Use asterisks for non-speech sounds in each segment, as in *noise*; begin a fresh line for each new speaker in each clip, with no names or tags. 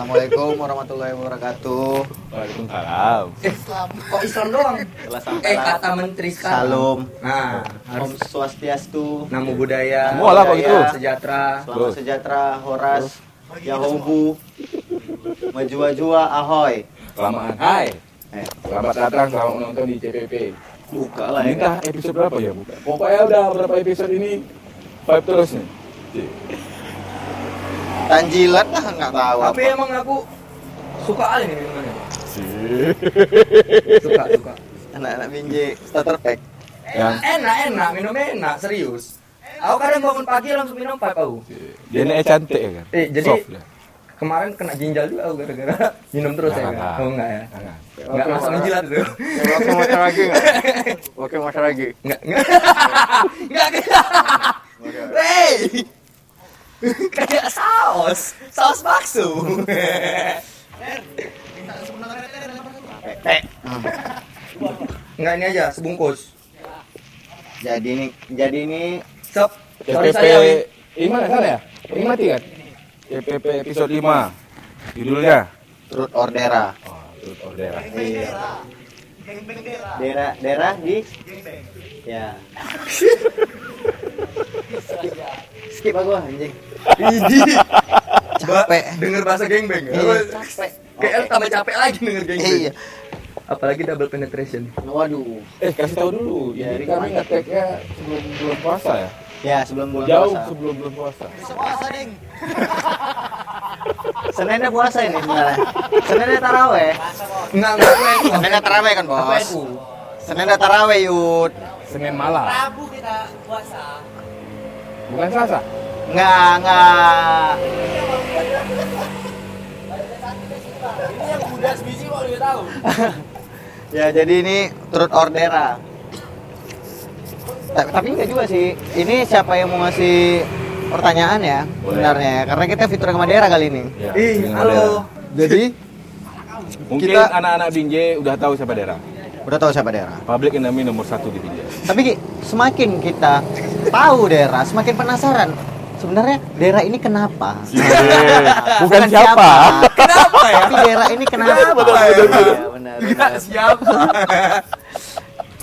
Assalamualaikum warahmatullahi wabarakatuh.
Waalaikumsalam.
Islam.
Kok Islam doang?
Telah sampai
Eh kata menteri sekarang.
Salam.
Nah,
Om
harus
Swastiastu.
namo budaya.
Semua lah kok gitu.
Sejahtera.
Selamat
Bro.
sejahtera Horas. Yahobu. Majua-jua ahoy.
Selamat hai.
Eh,
Selamat datang selamat menonton di CPP.
buka lah ya.
Ini entah episode berapa ya, bukan? Pokoknya udah berapa episode ini vibe terus nih. Cik.
Tanjilat lah nggak tahu.
Tapi
apa. ya?
emang aku suka kali nih minumannya.
Cik.
Suka, suka.
Anak-anak binje starter pack.
Yang
Enak, enak, minum enak, serius. Aku kadang bangun pagi langsung minum pipe aku.
Cik. dia nih cantik ya kan?
Eh, jadi-
Soft ya.
Kemarin kena ginjal juga aku gara-gara *laughs* minum terus ya. kan?
Jangan.
Oh enggak ya.
Tangan.
Enggak masuk menjilat itu.
Oke motor lagi nggak? Oke motor lagi.
Enggak, *laughs* enggak. Enggak kayak. Wey. *laughs* Kayak saus, saus bakso.
Eh,
Enggak ini aja sebungkus.
jadi ini jadi ini
Sop. Sorry
CPP
saya. Wi.
ini mana sana ya? Ini mati kan? CPP episode 5. Judulnya
truth or dera.
Oh, itu order.
Iya. Dera dera di Ya. Skip aku ah, anjing.
Iji.
Capek.
Dengar bahasa gengbeng.
Iya, capek.
KL
Oke.
tambah capek lagi denger gengbeng.
Iya.
Apalagi double penetration.
Waduh.
Eh, kasih tahu dulu.
Jadi
Jadi kami ngeteknya sebelum bulan puasa ya.
Ya, sebelum bulan
Jauh
puasa.
sebelum bulan puasa.
Seninnya puasa ini sebenarnya. Seninnya taraweh.
Enggak, enggak gue.
Seninnya taraweh kan, Bos?
aku.
Seninnya taraweh, Yud.
Senin malam.
Rabu kita puasa.
Bukan Selasa.
Enggak, enggak.
Ini yang udah sebiji kok dia tahu.
*laughs* Ya, jadi ini truth or dera. Ta- Tapi enggak juga sih. Ini siapa yang mau ngasih pertanyaan ya
Boleh.
sebenarnya karena kita fitur sama daerah kali ini.
Ya,
Ih,
dengan Dera.
halo.
Jadi
Mungkin
Kita-
anak-anak Binjai udah tahu siapa Dera.
*laughs* udah tahu siapa daerah.
Public enemy nomor satu di Binjai.
Tapi Ki, semakin kita tahu daerah, semakin penasaran. Sebenarnya daerah ini kenapa?
Bukan siapa.
Kenapa ya? Tapi daerah ini kenapa?
Kenapa, betul, betul.
Iya, benar,
Enggak
benar.
siapa.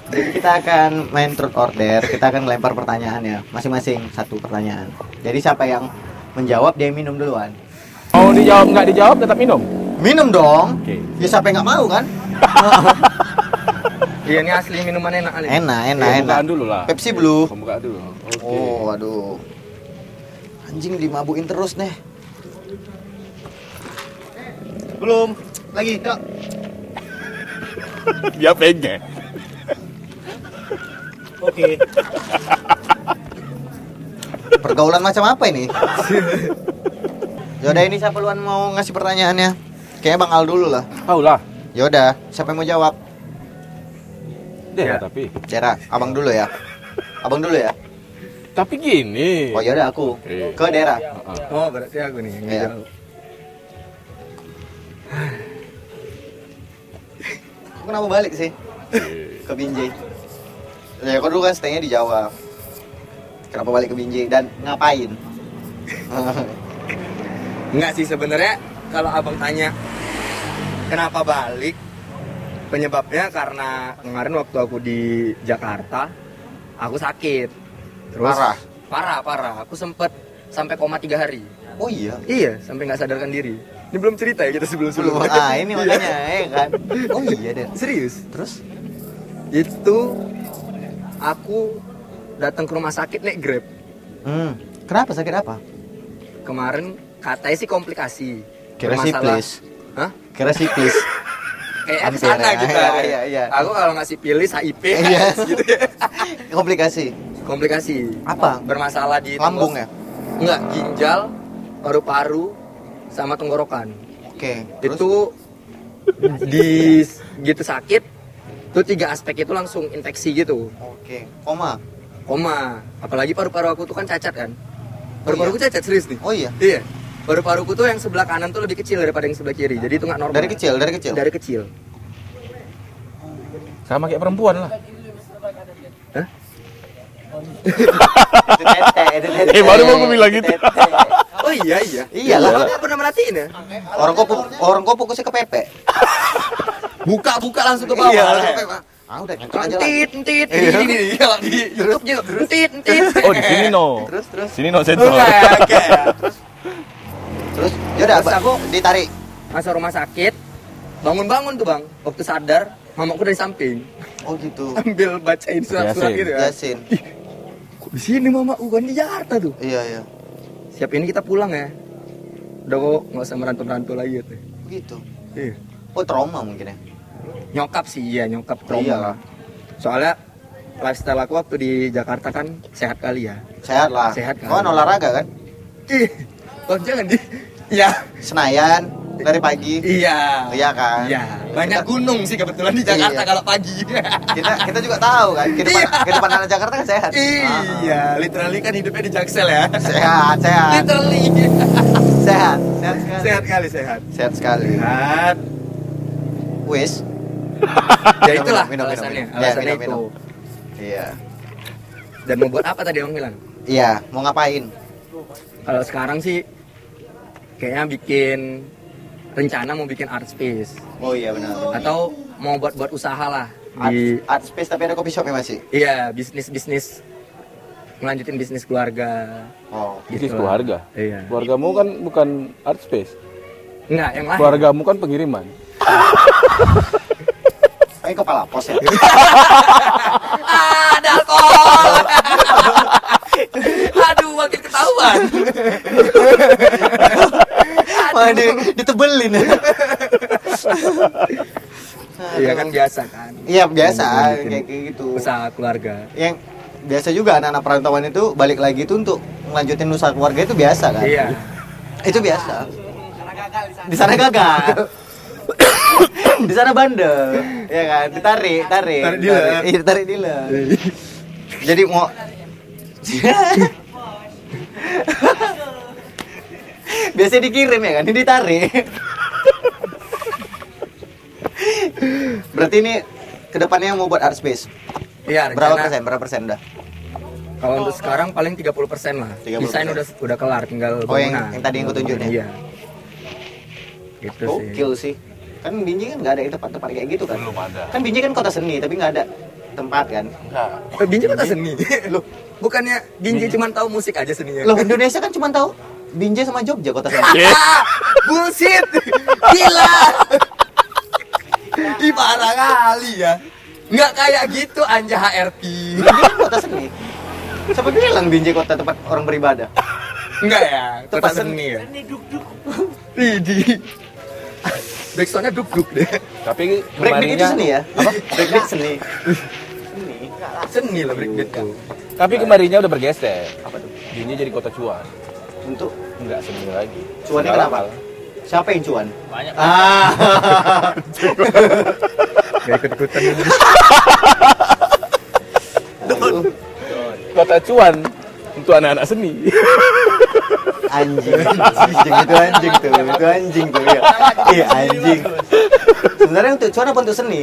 Jadi kita akan main truth order, kita akan lempar pertanyaan ya, masing-masing satu pertanyaan. Jadi siapa yang menjawab dia minum duluan.
Mau dijawab nggak dijawab tetap minum.
Minum dong.
Oke.
Ya siapa yang nggak mau kan?
Iya, ini asli minuman enak kali.
*laughs* Enak, Nah, enak, enak.
Pembukaan Ya, dulu lah.
Pepsi Blue.
Pembukaan dulu. Oke.
Oh, aduh. Anjing dimabuin terus nih. Belum. Lagi, Dok.
Dia pengen.
Oke.
Pergaulan macam apa
*laughs*
ini? Yaudah ini siapa luan mau ngasih pertanyaannya? Kayaknya Bang Al dulu lah.
Tahu lah.
Yaudah, siapa yang mau jawab?
Dera
Ya.
tapi.
Dera, abang dulu ya. Abang dulu ya.
Tapi gini.
Oh yaudah aku
Iya.
ke Dera.
Heeh.
Oh, berarti aku nih yang
Iya.
jauh.
Kok kenapa balik sih? Ke Binjai. Ya kok dulu kan stay-nya di Jawa. Kenapa balik ke Binjai dan ngapain? *laughs*
Enggak sih sebenarnya kalau abang tanya kenapa balik penyebabnya karena kemarin waktu aku di Jakarta aku sakit terus
Parah?
parah parah aku sempet sampai koma tiga hari
oh iya.
iya sampai nggak sadarkan diri ini belum cerita ya kita sebelum
Belum.
sebelum
Ah,
*laughs*
ini makanya eh kan. Oh iya, Den.
serius
Terus
itu aku datang ke rumah sakit naik grab
Hmm. Kenapa sakit apa?
kemarin katanya sih komplikasi
Kira
Bermasalah-
siplis.
Hah?
Kira siplis.
kayak
Hampir,
sana
ya.
gitu
Iya,
ada.
iya, iya.
aku kalau ngasih pilih HIP
Iya.
gitu ya
Komplikasi.
komplikasi
Apa?
bermasalah di
Lambung ya?
enggak ginjal paru-paru sama tenggorokan
Oke.
itu di gitu sakit itu tiga aspek itu langsung infeksi gitu
Oke. Koma.
koma apalagi paru-paru aku tuh kan cacat kan paru-paruku cacat serius nih
Oh iya.
iya paru-paruku tuh yang sebelah kanan tuh lebih kecil daripada yang sebelah kiri jadi itu nggak normal
Dari kecil, dari kecil.
Ah. dari kecil
Sama kayak perempuan lah.
Hah?
Itu tete, itu tete.
Eh, baru mau gua bilang gitu.
Itu tete.
Oh iya iya.
Iya lah.
Abang pernah merhatiin ya?
Orang kok pu- orang kok fokusnya ke Pepe.
Buka buka langsung ke bawah.
Iya.
langsung ke bawah.
Ah udah nyentuh aja lah.
Entit entit ini ini iya lah, di YouTube juga. Entit entit.
Oh di sini no.
Terus terus.
Sini no
Oke
sensor.
*laughs* oke. Terus
Terus ya udah aku
Terus aku-
ditarik.
masuk rumah sakit. Bangun bangun tuh bang. Waktu sadar mamaku dari samping
Oh gitu.
ambil bacain surat-surat
Yasin.
gitu kan.
Yasin.
Kok Di sini mamaku kan di Jakarta tuh.
Iya iya.
Siap ini kita pulang ya. Udah kok nggak usah merantau-merantau lagi gitu.
Begitu.
Iya.
Oh trauma mungkin ya.
Nyokap sih iya
Iya
nyokap trauma.
lah.
Soalnya lifestyle aku waktu di Jakarta kan sehat kali ya.
Sehat lah.
Sehat kan.
Kau kan olahraga kan?
Ih, oh jangan di. Iya.
Senayan dari pagi.
Iya.
Iya kan?
Iya. Banyak gunung sih kebetulan di Jakarta
Iya.
kalau
*laughs*
pagi.
Kita kita juga tahu kan kehidupan
Iya.
kehidupan anak Jakarta kan sehat.
iya, literally kan hidupnya di Jaksel ya.
Ah, Sehat, sehat,
literally.
sehat, sehat sekali.
sehat kali sehat.
Sehat sekali. *laughs*
Sehat.
Wis.
Ya
Minum,
itulah
minum, minum,
alasannya.
minum. Ya,
Alasannya
minum,
itu.
minum. Iya.
Dan mau buat apa tadi Bang bilang?
Iya, mau ngapain?
Kalau sekarang sih kayaknya bikin rencana mau bikin art space
Oh iya benar.
atau mau buat buat usaha lah
Art,
di
art space tapi ada coffee shop ya masih.
Iya, bisnis-bisnis melanjutin bisnis keluarga.
Oh.
Bisnis
gitu lah.
keluarga.
Iya.
Keluargamu kan bukan art space.
Enggak, yang lain.
Keluargamu kan pengiriman.
Ini kepala pos
*laughs*
ya. *laughs*
Ah, ada
*laughs*
alkohol. Aduh, makin ketahuan.
Wah, di, ditebelin.
Iya kan biasa kan.
Iya, biasa
Lanjutin
kayak kayak gitu.
Usaha keluarga.
Yang biasa juga anak-anak perantauan itu balik lagi itu untuk ngelanjutin usaha keluarga itu biasa kan?
Iya.
Itu biasa. Di sana gagal. *coughs* Di sana bandel, ya kan? Ditarik, tarik.
Tarik dealer.
ditarik. Iya, tarik
*laughs*
dealer. Jadi mau *laughs* Biasanya dikirim ya kan, ini ditarik. *laughs* Berarti ini kedepannya mau buat art space.
Iya,
Berapa
rencana-
persen? Berapa persen dah?
Kalau untuk sekarang paling 30% lah.
30%.
Desain udah udah kelar, tinggal
Oh, yang-
bangunan.
yang tadi yang gua tunjukin ya?
Iya. Gitu sih.
Gokil sih. Kan Binji kan nggak ada yang tempat-tempat kayak gitu kan? Belum ada. Kan Binji kan kota seni, tapi nggak ada tempat kan?
Eh, Binji kata seni. *laughs* Loh, bukannya Binji cuma tahu musik aja seninya. *laughs*
Loh Indonesia kan cuma tahu Binjai sama Jogja kota seni.
Ah, *laughs* bullshit gila *laughs* Ih parah kali ya nggak kayak gitu anja HRP
Binjai kan kota seni. Siapa bilang Binjai kota tempat orang beribadah?
enggak ya
Tempat
tempat seni ya Widih *laughs* Backsoundnya duk-duk deh
Tapi
Breakbeat itu
kemarinnya
seni ya? Apa? Breakbeat seni. Seni.
Seni lah breakbeat tuh
Tapi kemarinnya udah bergeser.
Apa tuh?
Ini jadi kota cuan.
Untuk
Enggak seni lagi.
Cuannya
Sekarang
kenapa?
malah.
siapa yang cuan?
Banyak.
Ah.
Gak ikut-ikutan
Aduh,
Kota cuan untuk anak-anak seni.
anjing. Anjing itu anjing tuh, itu anjing tuh ya. Iya anjing. Sebenarnya untuk cuan apa untuk seni?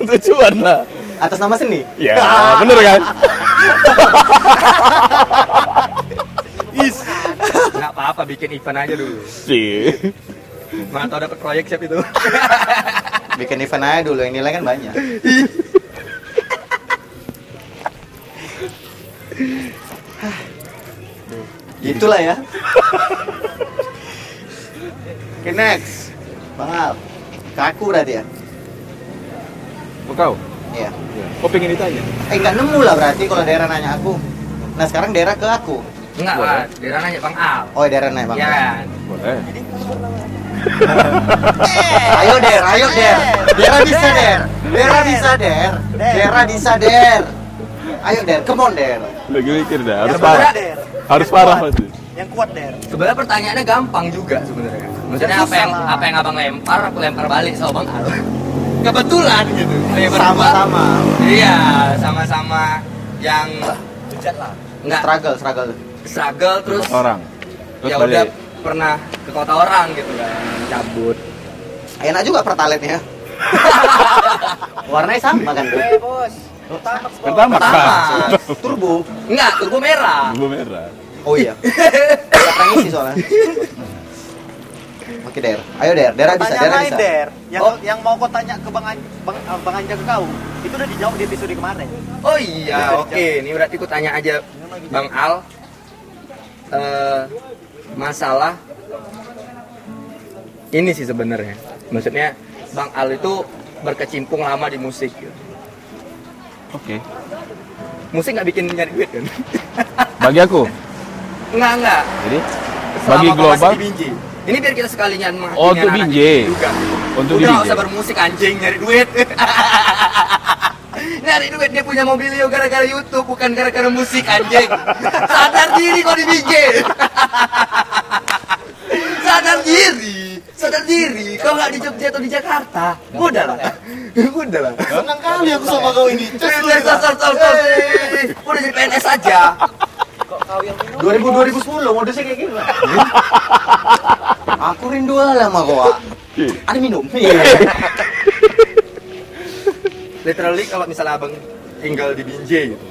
untuk cuan lah.
Atas nama seni.
Ya, bener kan? Is.
Gak apa-apa bikin event aja dulu
Sih.
Mana tau dapet proyek siap itu
Bikin event aja dulu, yang nilai kan banyak. Hah. Itulah ya. Oke next, Bang Al. Kaku berarti ya?
Oh, kau?
Iya.
Kau pengen ditanya?
Eh nggak nemu lah berarti kalau daerah nanya aku. Nah sekarang daerah ke aku.
Enggak lah, dia nanya Bang Al
Oh daerah nanya Bang.
Iya kan?
Boleh.
Ayo der, ayo der. Daerah bisa der. Daerah bisa der. Daerah bisa der. Ayo der, come on der.
Lagi mikir dah, harus
Yang
parah.
berat, Der.
Harus
Yang
parah
kuat.
pasti.
Yang kuat der.
Sebenarnya pertanyaannya gampang juga sebenarnya. Maksudnya apa yang apa yang abang lempar, aku lempar balik sama bang Al. Kebetulan gitu. Saya berdua,
Sama-sama.
Iya, sama-sama yang
Bejat lah.
nggak
Struggle, struggle.
struggle terus
Orang. Terus
ya udah
balik.
pernah ke kota orang gitu kan, cabut.
Enak juga pertaletnya. *laughs* Warnanya sama kan tuh.
Eh bos. Tamat bos.
Pertama kan.
Pertama.
Turbo.
Enggak, turbo merah.
Gue merah.
Oh iya. Belakang isi soalnya. Oke Der, ayo Der, Der bisa,
Tanya
Der
lain
bisa.
der, yang
Oh.
yang mau kau tanya ke bang An, bang, eh, bang Anja ke kau, itu udah dijawab di episode kemarin.
Oh
*laughs*
iya, oke. Ini berarti aku tanya aja Bang Al eh masalah ini sih sebenarnya. Maksudnya Bang Al itu berkecimpung lama di musik. gitu.
Oke.
Musik nggak bikin nyari duit kan? *laughs*
Bagi aku.
Enggak, enggak.
Jadi
Selama
Bagi
kau masih
global?
di Binjai. Ini biar kita sekalian menghakimi
Oh, untuk
anak-anak
Binjai.
juga.
Untuk
Udah
di
nggak
Binjai.
usah bermusik anjing nyari duit. *laughs* nyari duit dia punya mobilio gara-gara YouTube bukan gara-gara musik anjing. Sadar diri kau di Binjai. *laughs* Sadar diri. Sadar diri. Kau nggak di Jogja atau di Jakarta. Udah lah. *laughs* Udah lah.
Senang kali aku sama kau ini. Cus
*laughs*
lu
Udah,
gila.
sor, sor, sor. Udah jadi PNS aja.
2000 2010 modusnya kayak gini. Pak. Aku rindu lah sama kau. Wak. Ada minum. Iya.
Literally kalau misalnya abang tinggal di Binjai gitu.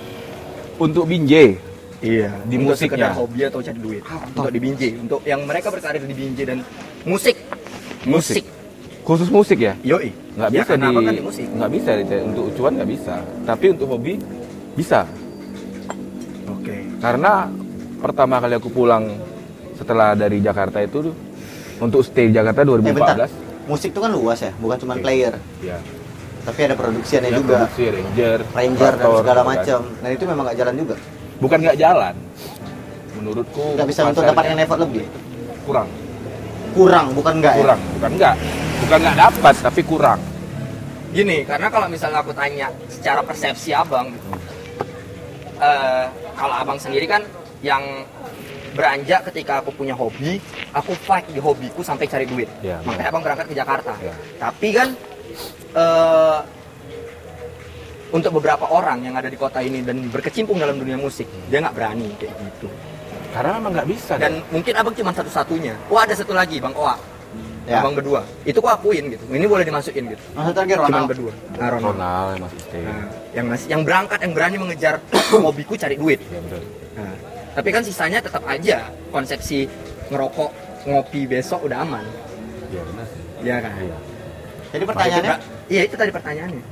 untuk Binjai.
Iya,
Di
untuk
musiknya. Ah,
sekedar hobi atau cari duit. Untuk di Binjai, untuk yang mereka berkarir di Binjai dan musik.
Musik. Khusus musik ya?
Yoi.
Nggak
Ya,
bisa
karena
di
abang kan di musik.
nggak bisa di- untuk cuan nggak bisa. Tapi untuk hobi bisa.
Oke.
Karena pertama kali aku pulang setelah dari Jakarta itu untuk stay di Jakarta
Eh bentar.
2014.
Musik itu kan luas ya, bukan cuma player,
Ya.
tapi ada produksiannya
Ya,
juga.
produksi, kan. ranger,
Ranger dan
operator,
segala
bukan.
macam. Nah itu memang nggak jalan juga.
Bukan nggak jalan. Menurutku
Nggak bisa untuk
pasarnya
dapatkan effort lebih.
kurang,
Kurang, bukan nggak ya?
kurang, bukan nggak, bukan nggak dapat tapi kurang.
Gini, karena kalau misalnya aku tanya secara persepsi abang, gitu, eh, kalau abang sendiri kan yang beranjak ketika aku punya hobi, aku fight di hobiku sampai cari duit.
Iya,
Makanya
benar.
abang berangkat ke Jakarta.
Iya.
Tapi kan eh, untuk beberapa orang yang ada di kota ini dan berkecimpung dalam dunia musik, dia nggak berani kayak gitu.
Karena memang nggak bisa.
Dan mungkin abang cuma satu-satunya. Oh ada satu lagi, bang Oa,
Ya.
abang berdua. Itu aku akuin gitu. Ini boleh dimasukin gitu.
Maksud terakhir
Cuman
Ronald.
berdua. Ah, Ronald.
Ronald masih stay.
Nah, yang masih yang berangkat yang berani mengejar *coughs* hobiku cari duit.
Ya, betul.
Nah, tapi kan sisanya tetap aja konsepsi ngerokok, ngopi besok udah aman.
Ya, benar sih.
Iya kan?
Iya.
Jadi pertanyaannya,
Itu- Iya, itu tadi pertanyaannya.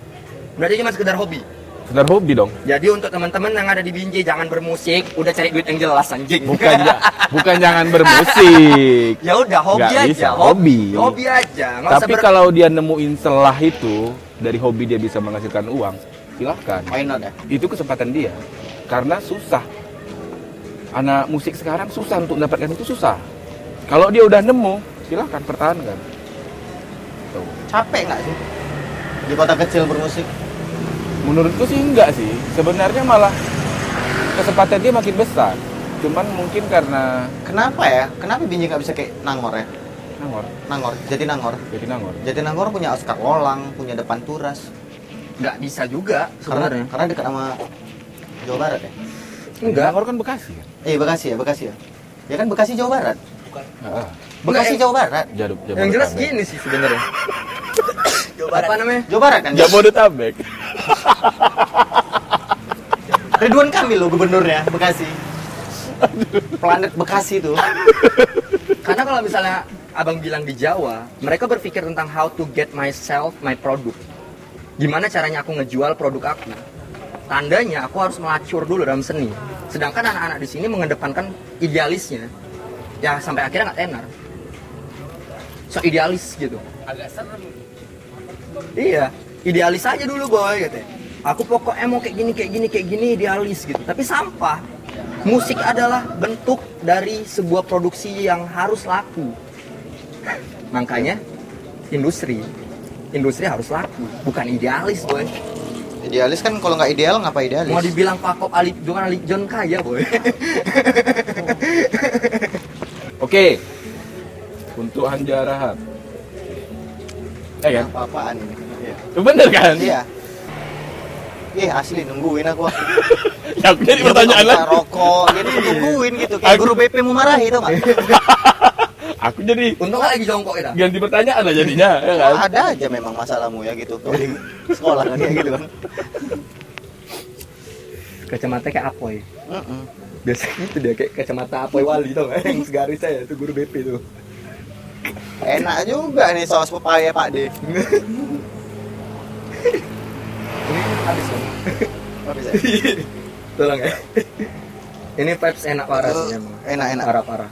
Berarti cuma sekedar hobi.
Sekedar hobi dong.
Jadi untuk teman-teman yang ada di Binjai jangan bermusik, udah cari duit yang jelas anjing.
Bukan ya,
*laughs*
bukan jangan bermusik.
*laughs* ya udah hobi
Nggak
aja,
bisa, hobi.
Hobi aja. Nggak usah
Tapi kan-
ber-
kalau dia nemuin celah itu dari hobi dia bisa menghasilkan uang, silahkan.
why not ya?
Itu kesempatan dia. Karena susah. Anak musik sekarang susah untuk mendapatkan itu susah. Kalau dia udah nemu, silahkan pertahankan. Tuh.
Capek nggak sih? Di kota kecil bermusik.
Menurutku sih enggak sih. Sebenarnya malah kesempatan dia makin besar. Cuman mungkin karena
Kenapa ya? Kenapa Binjai nggak bisa kayak Nangor ya?
nangor,
Nangor, jadi Nangor.
jadi nangor.
Jadi Nangor punya Oscar Lolang, punya Depan Turas.
nggak bisa juga
Karena
sebenarnya.
karena dekat sama Jawa Barat ya.
Enggak.
Nangor kan Bekasi kan?
Eh Bekasi ya, Bekasi ya. Ya kan Bekasi Jawa Barat.
Heeh.
Bekasi Jawa Barat.
Jaduk,
Yang jelas gini sih sebenarnya.
*coughs*
Apa namanya?
Jawa Barat kan?
Jabodetabek.
Ridwan Kamil loh gubernurnya *laughs* Bekasi. Planet Bekasi tuh.
Karena kalau misalnya abang bilang di Jawa, mereka berpikir tentang how to get myself my product. Gimana caranya aku ngejual produk aku? Tandanya aku harus melacur dulu dalam seni. Sedangkan anak-anak di sini mengedepankan idealisnya. Ya sampai akhirnya nggak tenar. So idealis gitu.
Agak serem.
Iya, idealis aja dulu boy gitu. Aku pokoknya mau kayak gini, kayak gini, kayak gini idealis gitu. Tapi sampah. Musik adalah bentuk dari sebuah produksi yang harus laku. *laughs* Makanya industri, industri harus laku, bukan idealis boy.
Idealis kan kalau nggak ideal ngapa idealis?
Mau dibilang Pakop Alip John Alip John kaya *laughs* boy.
Oke. Untuk Hanja Rahat. Eh kan?
Apa-apaan ini? Iya.
Bener kan?
Iya. Ih asli nungguin aku.
Ya, aku jadi
Dia
pertanyaan
buka
lagi.
Rokok, dia tuh nungguin gitu kayak
Aku-
guru BP mau marahi tau nggak?
Aku jadi
Untung nggak lagi jongkok kita.
ganti pertanyaan lah jadinya, ya kan?
Ada aja memang masalahmu ya gitu. Kalau di sekolah kan kayak gitu kan.
Kacamata kayak apoy.
Mm-mm.
biasanya itu dia kayak kacamata apoy wali tau nggak? yang segaris saya itu guru BP tuh
Enak juga nih saus pepaya Pak De.
ini habis kan
Nggak bisa.
tolong ya ini vibes enak parah
Iya.
sih emang
Enak enak
parah parah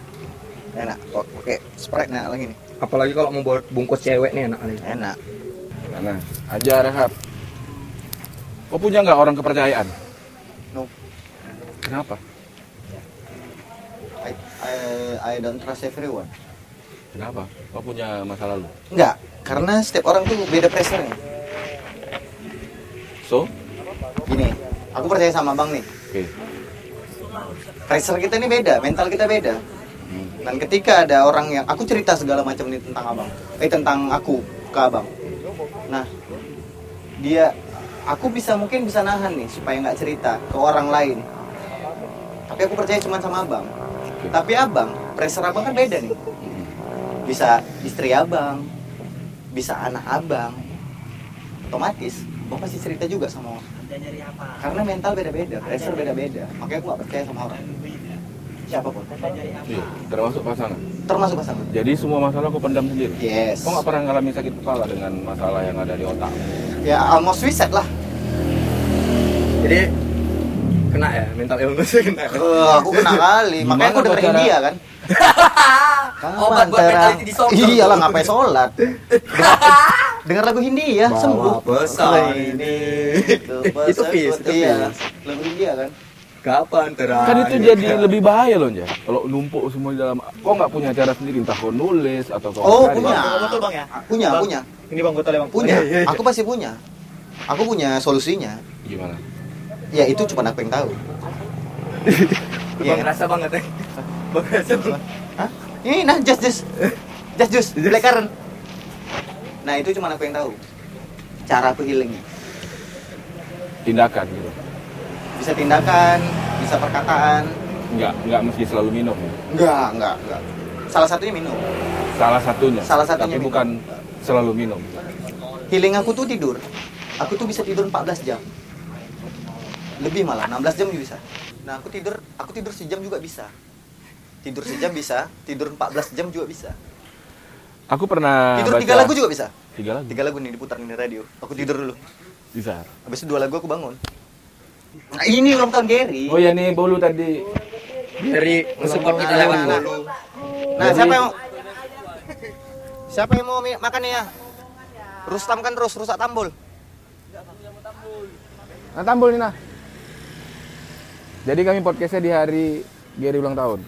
enak. Oke, Sprite enak lagi nih.
apalagi kalau mau buat bungkus cewek nih enak kali
Enak. Iya.
Karena aja Rehab. Nah, Kau punya nggak orang kepercayaan?
No.
Kenapa?
I, I, I don't trust everyone.
Kenapa? Kau punya masa lalu.
Enggak, karena setiap orang tuh beda pressure-nya.
So,
Gini, aku percaya sama Bang nih.
oke.
Pressure kita ini beda, mental kita beda. Dan ketika ada orang yang aku cerita segala macam nih tentang Abang, eh tentang aku ke Abang. Nah, dia aku bisa mungkin bisa nahan nih supaya nggak cerita ke orang lain. Tapi aku percaya cuma sama Abang. Tapi Abang, pressure Abang kan beda nih. Bisa istri Abang, bisa anak Abang. Otomatis Abang pasti cerita juga sama orang. Karena mental beda-beda, pressure beda-beda. Makanya aku nggak percaya sama orang. Siapapun,
Iya, termasuk pasangan.
termasuk pasangan.
Jadi semua masalah kau pendam sendiri.
Yes.
Kau nggak pernah ngalami sakit kepala dengan masalah yang ada di otak.
Ya almost suicide lah.
jadi kena ya mental illness *laughs* kena
Eh, aku kena kali,
Gimana
makanya aku dengerin
cara-
dia kan.
Obat buat
Tera?
mentality disorder.
Iya lah ngapain sholat. Denger- Denger lagu Hindi ya,
Bawa
sembuh.
pesan ini. Itu Fis, itu
iya.
Fis.
Lagu India kan.
kapan terakhir
Ah,
Iya,
Kan
iya,
itu jadi lebih bahaya loh, Jar. Kalau numpuk semua di dalam. Kau nggak punya cara sendiri, entah kau nulis atau kau
Oh,
cari.
punya.
Bang, botol bang ya?
Punya,
Bang,
punya,
Ini bang botol ya bang?
punya.
iya, iya.
Aku pasti punya. Aku punya solusinya.
Gimana?
Ya itu cuma aku yang tahu.
bang
Iya.
rasa banget ya bang rasa banget
Hah? Ini nah just just just just black currant. Nah itu cuma aku yang tahu. Cara aku healingnya.
Tindakan gitu.
Bisa tindakan, bisa perkataan.
Nggak, nggak mesti selalu minum. ya.
Enggak, enggak, enggak. Salah satunya minum.
Salah satunya.
Salah satunya
Tapi
minum.
bukan selalu minum.
Healing aku tuh tidur. Aku tuh bisa tidur 14 jam. Lebih malah 16 jam juga bisa. Nah, aku tidur aku tidur sejam juga bisa. Tidur sejam bisa, tidur 14 jam juga bisa.
Aku pernah
Tidur
Ah, baca-
tiga lagu juga bisa.
Tiga lagu.
Tiga lagu nih diputar nih di radio. Aku tidur dulu.
Bisa.
Habis itu dua lagu aku bangun. Nah, ini ulang tahun Gary.
Oh ya nih bolu tadi.
dari support kita
Nah,
lewat
nah,
dulu
Nah,
Jadi-
siapa yang Siapa yang mau mi- makan nih ya? Rustam kan terus rusak tambul.
Nah tambul nih nah. Jadi kami podcastnya di hari Gary ulang tahun.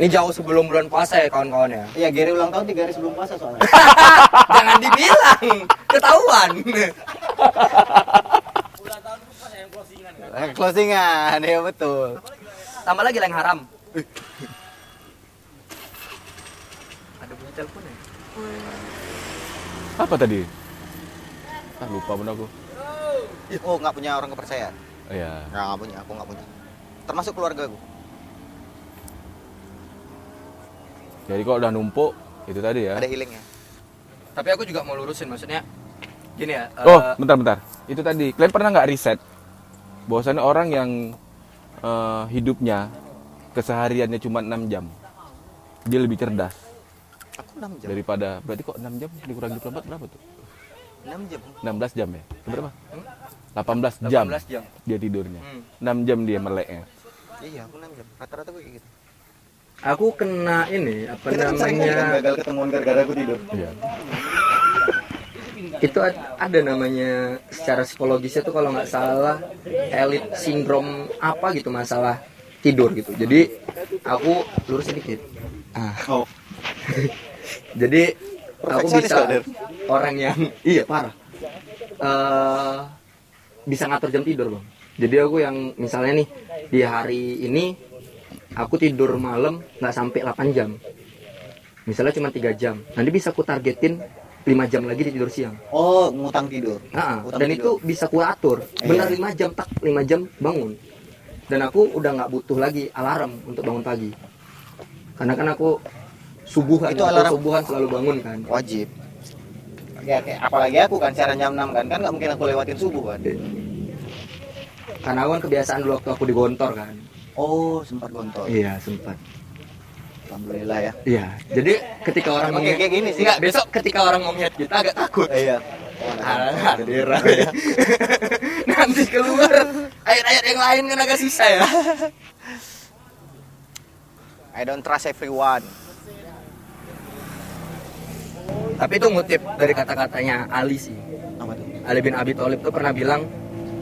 ini jauh sebelum bulan puasa ya kawan-kawan ya
Iya, Gary ulang tahun tiga hari sebelum puasa soalnya.
jangan dibilang ketahuan
Eh, Closingan, ya betul. Eh.
tambah lagi lah yang haram ada punya telepon ya
Apa tadi? Ah lupa pun aku.
Oh, nggak punya orang kepercayaan?
Oh, ya.
Nggak, nggak punya. Aku nggak punya. Termasuk keluarga aku.
Jadi kok udah numpuk itu tadi ya.
Ada healingnya.
tapi aku juga mau lurusin maksudnya gini ya eh,
Oh, bentar-bentar. Itu tadi. Kalian pernah nggak riset? Bahwasannya orang yang eh, hidupnya kesehariannya cuma 6 jam. Dia lebih cerdas
Aku 6 jam.
daripada berarti kok 6 jam dikurangi 24 berapa tuh?
6 jam.
16 jam ya? Berapa? 18 jam
18 Hmm? jam
dia tidurnya.
Hmm.
6 jam dia meleknya.
Iya, aku 6 jam. Rata-rata aku kayak gitu.
aku kena ini apa
Kita kan sering kali kan
namanya
gagal ketemuan gara-gara aku tidur.
Iya.
itu ad- ada namanya secara psikologisnya tuh kalau nggak salah elit sindrom apa gitu masalah tidur gitu jadi aku lurus sedikit ah.
Oh.
*laughs* jadi aku
Perfeksionis
bisa
loh, Der.
orang yang iya parah Eh, bisa ngatur jam tidur bang jadi aku yang misalnya nih di hari ini aku tidur malam nggak sampai 8 jam misalnya cuma 3 jam nanti bisa aku targetin 5 jam lagi di tidur siang
Oh, ngutang tidur.
Nah,
Utang
dan
tidur.
itu Iya. bisa ku atur. Benar 5 jam tak 5 jam bangun. Dan aku udah nggak butuh lagi alarm untuk bangun pagi. Karena kan aku subuh kan,
Itu
aku
alarm-
subuhan selalu bangun kan.
Wajib. Ya, kayak apalagi aku kan siaran jam 6 kan. Kan nggak mungkin aku lewatin subuh kan.
Karena aku kan kebiasaan dulu waktu aku di Gontor kan.
Oh, sempat kontol.
Iya sempat.
Alhamdulillah ya.
Iya. Jadi ketika orang
Emang kayak-
menghit-
kayak gini sih?
Nggak, besok ketika orang mau ngeliat kita agak takut.
Iya.
Ah, *laughs* Nanti keluar ayat-ayat yang lain kan agak susah *laughs* ya.
I don't trust everyone.
Tapi itu ngutip dari kata-katanya Ali sih.
Apa tuh?
Ali bin Abi Thalib tuh pernah bilang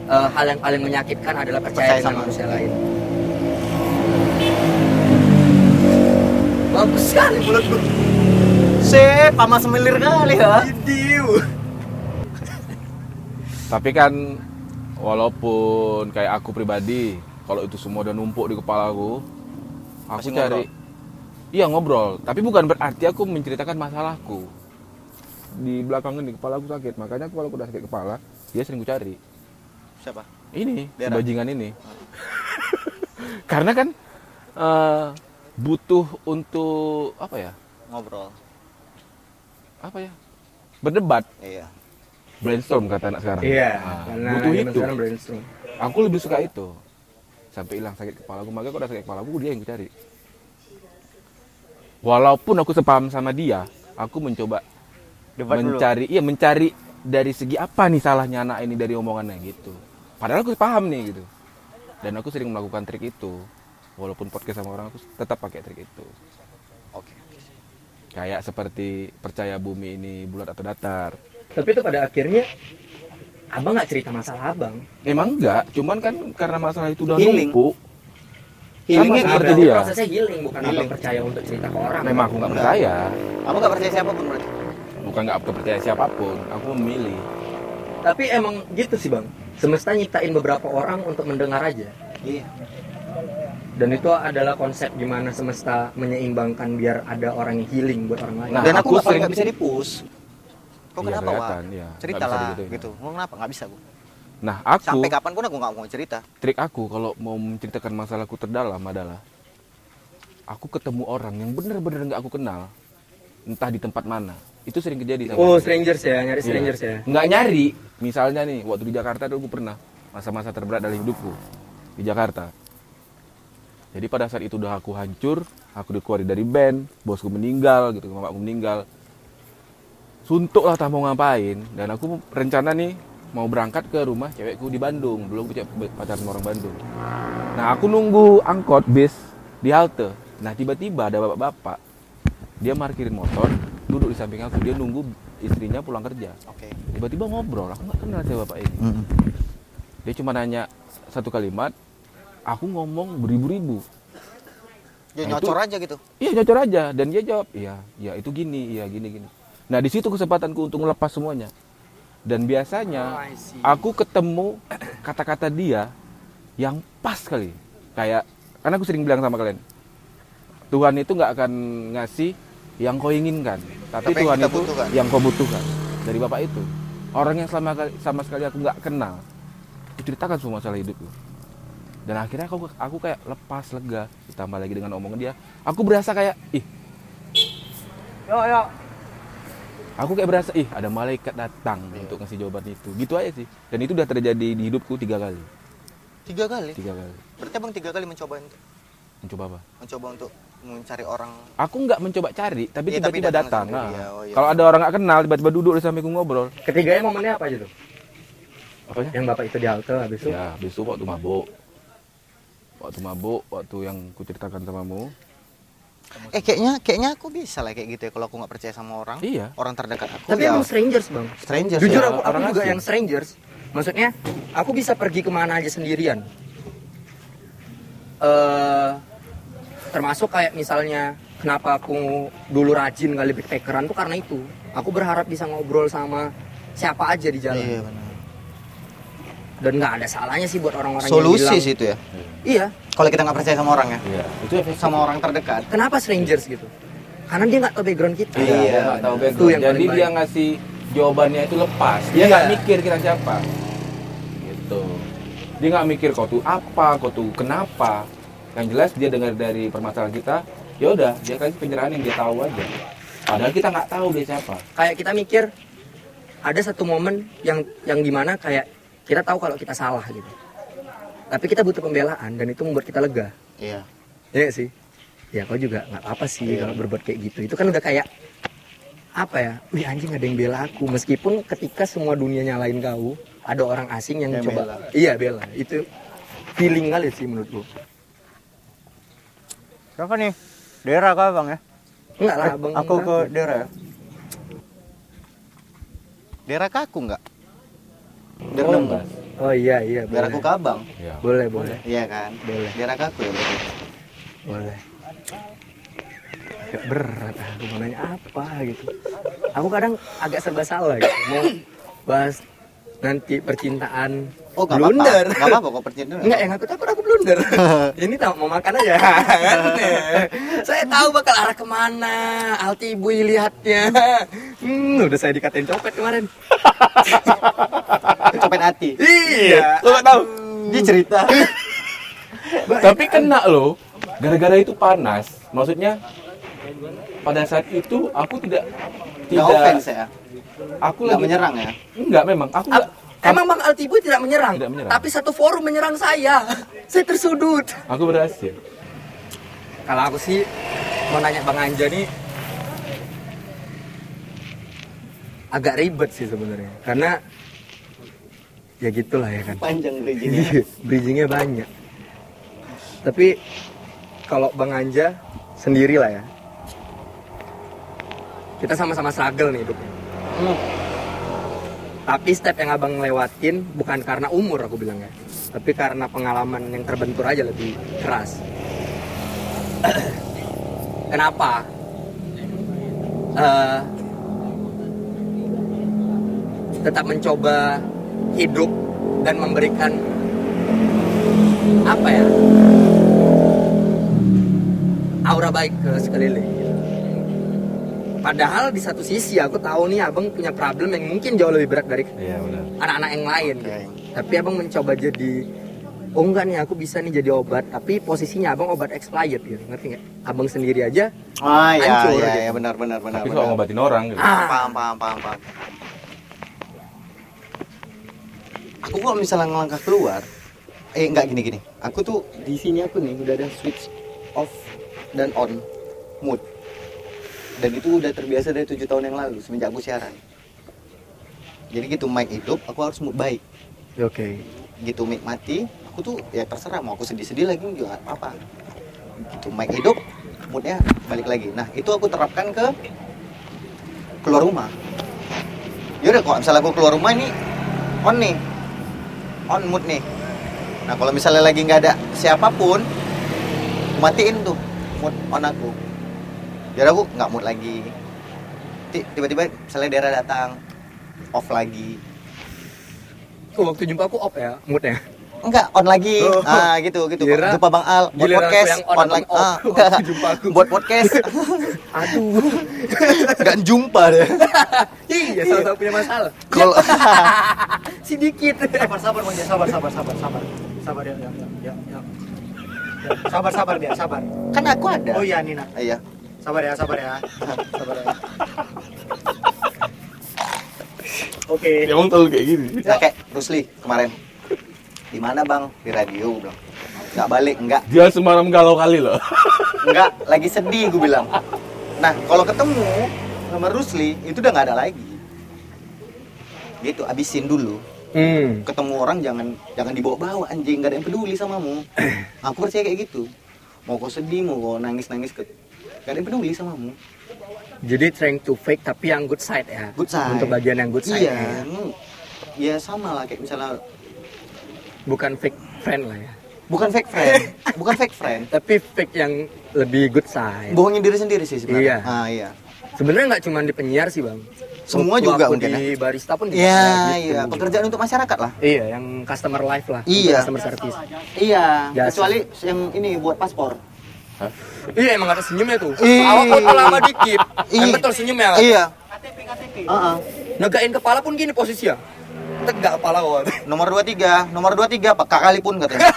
"Eh, hal yang paling menyakitkan adalah percaya,
Percaya
sama
sama
manusia lain. Bagus sekali mulut gue.
Sip, sama semilir kali ya.
Tapi kan walaupun kayak aku pribadi, kalau itu semua udah numpuk di kepala aku, aku
Masih
cari Iya ngobrol, tapi bukan berarti aku menceritakan masalahku. Di belakangan di kepala aku sakit, makanya aku kalau aku udah sakit kepala, dia sering ku cari.
Siapa?
Ini,
Daerah.
bajingan ini. *laughs* Karena kan eh, butuh untuk apa ya?
Ngobrol.
Apa ya? Berdebat,
Iya.
brainstorm kata anak sekarang.
Iya,
Nah,
karena
butuh
zaman
itu.
sekarang brainstorm.
Aku lebih suka itu. Sampai hilang sakit kepala aku, makanya kalau udah sakit kepala aku dia yang ku cari. Walaupun aku sepaham sama dia, aku mencoba mencari, iya mencari dari segi apa nih salahnya anak ini dari omongannya gitu. Padahal aku paham nih gitu. Dan aku sering melakukan trik itu. Walaupun podcast sama orang aku tetap pakai trik itu.
Oke.
Kayak seperti percaya bumi ini bulat atau datar.
Tapi itu pada akhirnya abang nggak cerita masalah abang.
Emang enggak, cuman kan karena masalah itu udah
Healing.
numpuk, Iya,
Healingnya
seperti
berarti
dia.
Prosesnya healing bukan abang percaya untuk cerita ke orang.
memang aku nggak percaya.
Kamu gak percaya siapapun berarti?
Bukan nggak aku percaya siapapun, aku memilih.
Tapi emang gitu sih bang. Semesta nyiptain beberapa orang untuk mendengar aja.
Iya.
Dan itu adalah konsep gimana semesta menyeimbangkan biar ada orang yang healing buat orang lain.
Nah,
Dan aku,
aku sering-
paling gak bisa dipus. Kok
Iya,
kenapa, Wak?
kelihatan, iya. Nggak
Cerita
bisa
lah,
digituin.
gitu. Mau kenapa? Gak bisa gue.
Nah, aku
Sampai kapan pun aku gak mau cerita.
trik aku kalau mau menceritakan masalahku terdalam adalah aku ketemu orang yang benar-benar nggak aku kenal, entah di tempat mana. Itu sering kejadi sama.
Oh
aku.
strangers ya, nyari
Iya.
strangers ya.
Nggak nyari. Misalnya nih, waktu di Jakarta dulu aku pernah masa-masa terberat dari hidupku di Jakarta. Jadi pada saat itu udah aku hancur, aku dikeluarin dari band, bosku meninggal gitu, mamaku meninggal. Suntuk lah tak mau ngapain dan aku rencana nih mau berangkat ke rumah cewekku di Bandung, belum punya pacar sama orang Bandung. Nah, aku nunggu angkot bis di halte. Nah, tiba-tiba ada bapak-bapak. Dia parkirin motor, duduk di samping aku, dia nunggu istrinya pulang kerja
Oke.
tiba-tiba ngobrol aku nggak kenal siapa bapak ini dia cuma nanya satu kalimat aku ngomong beribu-ribu
Ya
Nah, itu-
nyocor aja gitu.
iya nyocor aja dan dia jawab iya iya itu gini iya gini gini nah di situ kesempatanku untuk melepas semuanya
Oh,
dan biasanya aku ketemu kata-kata dia yang pas kali kayak karena aku sering bilang sama kalian Tuhan itu nggak akan ngasih yang kau inginkan tapi,
Tapi yang
Tuhan
kita
itu
butuhkan.
yang kau butuhkan dari bapak itu orang yang selama kali- sama sekali aku nggak kenal aku ceritakan semua masalah hidupku dan akhirnya aku aku kayak lepas lega ditambah lagi dengan omongan dia aku berasa kayak ih
Yuk, yuk.
aku kayak berasa ih ada malaikat datang
Iya.
untuk ngasih jawaban itu gitu aja sih dan itu udah terjadi di hidupku tiga kali
Tiga kali.
tiga kali
Berarti abang tiga kali mencoba untuk
mencoba apa
mencoba untuk mencari orang
aku nggak mencoba cari
Iya,
tapi
tapi
tiba-tiba datang
datang sendiri,
Nah,
ya. Oh, iya.
kalau ada orang nggak kenal tiba-tiba duduk di sampingku ngobrol
Ketiganya momennya apa aja tuh?
apa ya
Yang bapak itu di halte habis itu.
ya besok waktu mabuk waktu mabuk waktu yang kuceritakan samamu
eh kayaknya kayaknya aku bisa lah kayak gitu ya kalau aku nggak percaya sama orang
Iya.
orang terdekat aku
Tapi
ya
emang strangers bang.
stranger
Jujur
ya.
aku, aku
orang
juga
asing.
yang strangers. Maksudnya aku bisa pergi kemana aja sendirian. eh termasuk kayak misalnya kenapa aku dulu rajin kali backpackeran tuh karena itu. Aku berharap bisa ngobrol sama siapa aja di jalan.
iya benar
Dan nggak ada salahnya sih buat orang-orang yang
solusi
bilang,
sih itu ya
Iya.
kalau kita nggak percaya sama orang ya
iya itu
sama orang terdekat
Kenapa strangers gitu? Karena dia nggak tahu background kita.
Iya, dia nggak tahu
Itu
background.
yang
Jadi
paling
dia
baik.
ngasih jawabannya itu lepas. Dia
Iya.
nggak mikir kita siapa. Gitu. Dia nggak mikir kau tuh apa, kau tuh kenapa. Yang jelas dia dengar dari permasalahan kita, ya udah dia kasih penyerahan yang dia tahu aja. Padahal kita nggak tahu dia siapa.
kayak kita mikir ada satu momen yang yang dimana kayak kita tahu kalau kita salah gitu tapi kita butuh pembelaan dan itu membuat kita lega
Iya.
Iya nggak sih? Ya kau juga nggak apa-apa sih
Iya.
kalau berbuat kayak gitu. Itu kan udah kayak apa ya? Wih anjing ada yang bela aku. Meskipun ketika semua dunia nyalain kau, ada orang asing yang
Yang
coba.
bela.
Iya bela. Itu feeling kali sih menurut gua.
Berapa nih? Daerah kah bang ya?
Enggak lah,
Eh,
abang.
aku ke
enggak.
daerah ya?
Daerah kaku nggak?
Oh,
Dernem
enggak. Oh iya iya.
Daerah aku
Boleh.
kabang.
Ya.
Boleh boleh
Iya kan?
Boleh.
Daerah kaku ya. berarti?
boleh. Agak berat aku mau nanya apa gitu. Aku kadang agak serba salah gitu. Mau bahas nanti percintaan
Oh nggak apa-apa.
blunder.
Nggak apa-apa kok percintaan.
Enggak, yang aku takut aku blunder.
*laughs*
Ini tahu mau makan aja. kan? saya tahu bakal arah kemana. Alti ibu lihatnya. Hmm, udah saya dikatain copet kemarin.
Copet hati.
iya.
Lo gak tahu.
Dia
*laughs*
cerita.
Tapi
kan
kena loh. Gara-gara itu panas. Maksudnya pada saat itu aku tidak
Nggak
tidak
offense ya?
aku
Nggak
lagi
menyerang ya?
Enggak memang. Aku
Ab-
enggak
Emang Bang Alti Ibu tidak menyerang,
Tidak menyerang.
tapi satu forum menyerang saya. *laughs* Saya tersudut.
aku berhasil.
Kalau aku sih mau nanya Bang Anja nih agak ribet sih sebenarnya. Karena ya gitulah ya kan.
Panjang bridging.
Iya, bridgingnya banyak. Tapi kalau Bang Anja sendiri lah ya. Kita sama-sama struggle nih hidupnya. Tapi step yang abang lewatin bukan karena umur aku bilang ya. Tapi karena pengalaman yang terbentur aja lebih keras. *clears throat* Kenapa? Eh, tetap mencoba hidup dan memberikan apa ya aura baik ke sekeliling padahal di satu sisi aku tahu nih abang punya problem yang mungkin jauh lebih berat dari
Iya benar.
anak-anak yang lain
Oke.
tapi abang mencoba jadi oh enggak nih aku bisa nih jadi obat tapi posisinya abang obat expired gitu ngerti nggak abang sendiri aja
Ah iya
Hancur
iya
gitu.
iya benar benar benar.
Tapi
benar.
soal ngobatin orang gitu.
ah
Paham paham paham paham. Aku kalau misalnya ngelangkah keluar, eh nggak gini gini. Aku tuh di sini aku nih udah ada switch off dan on mood. Dan itu udah terbiasa dari tujuh tahun yang lalu semenjak aku siaran. Jadi gitu mic hidup, aku harus mood baik.
oke
Gitu mic mati, aku tuh ya terserah mau aku sedih-sedih lagi juga nggak apa-apa. Gitu mic hidup, moodnya balik lagi. Nah itu aku terapkan ke keluar rumah. Yaudah kalau misalnya aku keluar rumah ini on nih, on mood nih. Nah kalau misalnya lagi nggak ada siapapun, aku matiin tuh mood on aku. Jadi aku nggak mood lagi. Ti- Tiba-tiba misalnya daerah datang off lagi,
Oh, waktu jumpa aku off ya moodnya
enggak on lagi,
Oh.
ah gitu gitu.
Giliran-
Jumpa Bang Al buat
giliran aku
podcast,
yang on,
on
aku
lagi,
off.
ah,
Waktu jumpa *laughs* aku.
*laughs* buat
*laughs*
podcast,
aduh
*laughs* nggak jumpa deh.
iya sama-sama punya masalah
Kalau
sedikit
Sabar sabar bang ya sabar sabar sabar sabar sabar ya ya ya, ya. Ya, Sabar sabar dia sabar.
*laughs* kan aku ada.
Oh iya Nina,
Iya.
sabar ya sabar ya. Sabar ya. Oke.
Emang tahu kayak gini.
Nah, kayak Rusli kemarin. Di mana bang? Di radio gue bilang. Nggak balik, enggak.
Dia semalam galau kali loh.
Enggak, lagi sedih gue bilang. Nah, kalau ketemu sama Rusli, itu udah nggak ada lagi. Gitu, abisin dulu.
hmm
Ketemu orang jangan jangan dibawa-bawa anjing, nggak ada yang peduli
*clears throat*
samamu. Aku percaya kayak gitu. Mau kau sedih, mau kau nangis-nangis ke Gak ada yang peduli samamu.
Jadi trying to fake tapi yang good side ya.
Good side.
Untuk bagian yang good side.
Iya,
ya.
mm. ya sama lah kayak misalnya
Bukan fake friend lah ya.
bukan fake
*laughs*
friend, bukan fake friend.
Tapi fake yang lebih good side.
Bohongin diri sendiri sih sebenarnya.
Iya.
Ah, iya.
Sebenarnya nggak cuma di penyiar sih bang.
Semua
Waktu
juga
aku
mungkin ya.
di barista pun. juga
Iya,
gitu.
iya. Pekerjaan untuk masyarakat lah.
Iya, yang customer life lah.
Iya.
untuk Customer service.
Iya.
Jasa.
Kecuali yang ini buat paspor.
Iya emang ada senyumnya tuh.
Ih.
Awak kalau lama dikit.
Ih.
Yang betul senyumnya.
Iya.
KTP KTP.
Heeh.
Negain kepala pun gini posisinya. Tegak kepala awak.
Nomor 23, nomor 23 peka kali pun katanya.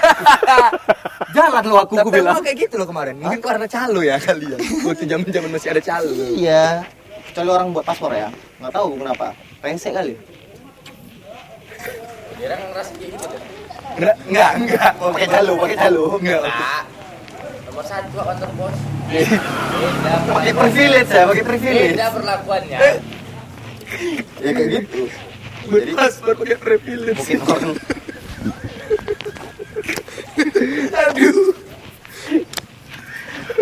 *laughs* Jalan lu aku
Tapi
gue bilang.
emang kayak gitu loh kemarin. Mungkin karena calo ya kali ya. Waktu zaman-zaman masih ada calo.
Iya. Kecuali orang buat paspor ya. Nggak tahu kenapa. Rese kali.
Enggak, enggak, enggak. Oh,
Pakai jalu, pakai jalu.
Enggak.
Pak. Nomor satu kantor bos.
Pakai privilege ya, pakai privilege.
Beda perlakuannya.
*laughs* Ya kayak gitu. Jadi
Mas, baru pakai privilege.
mungkin *laughs* orang
Aduh.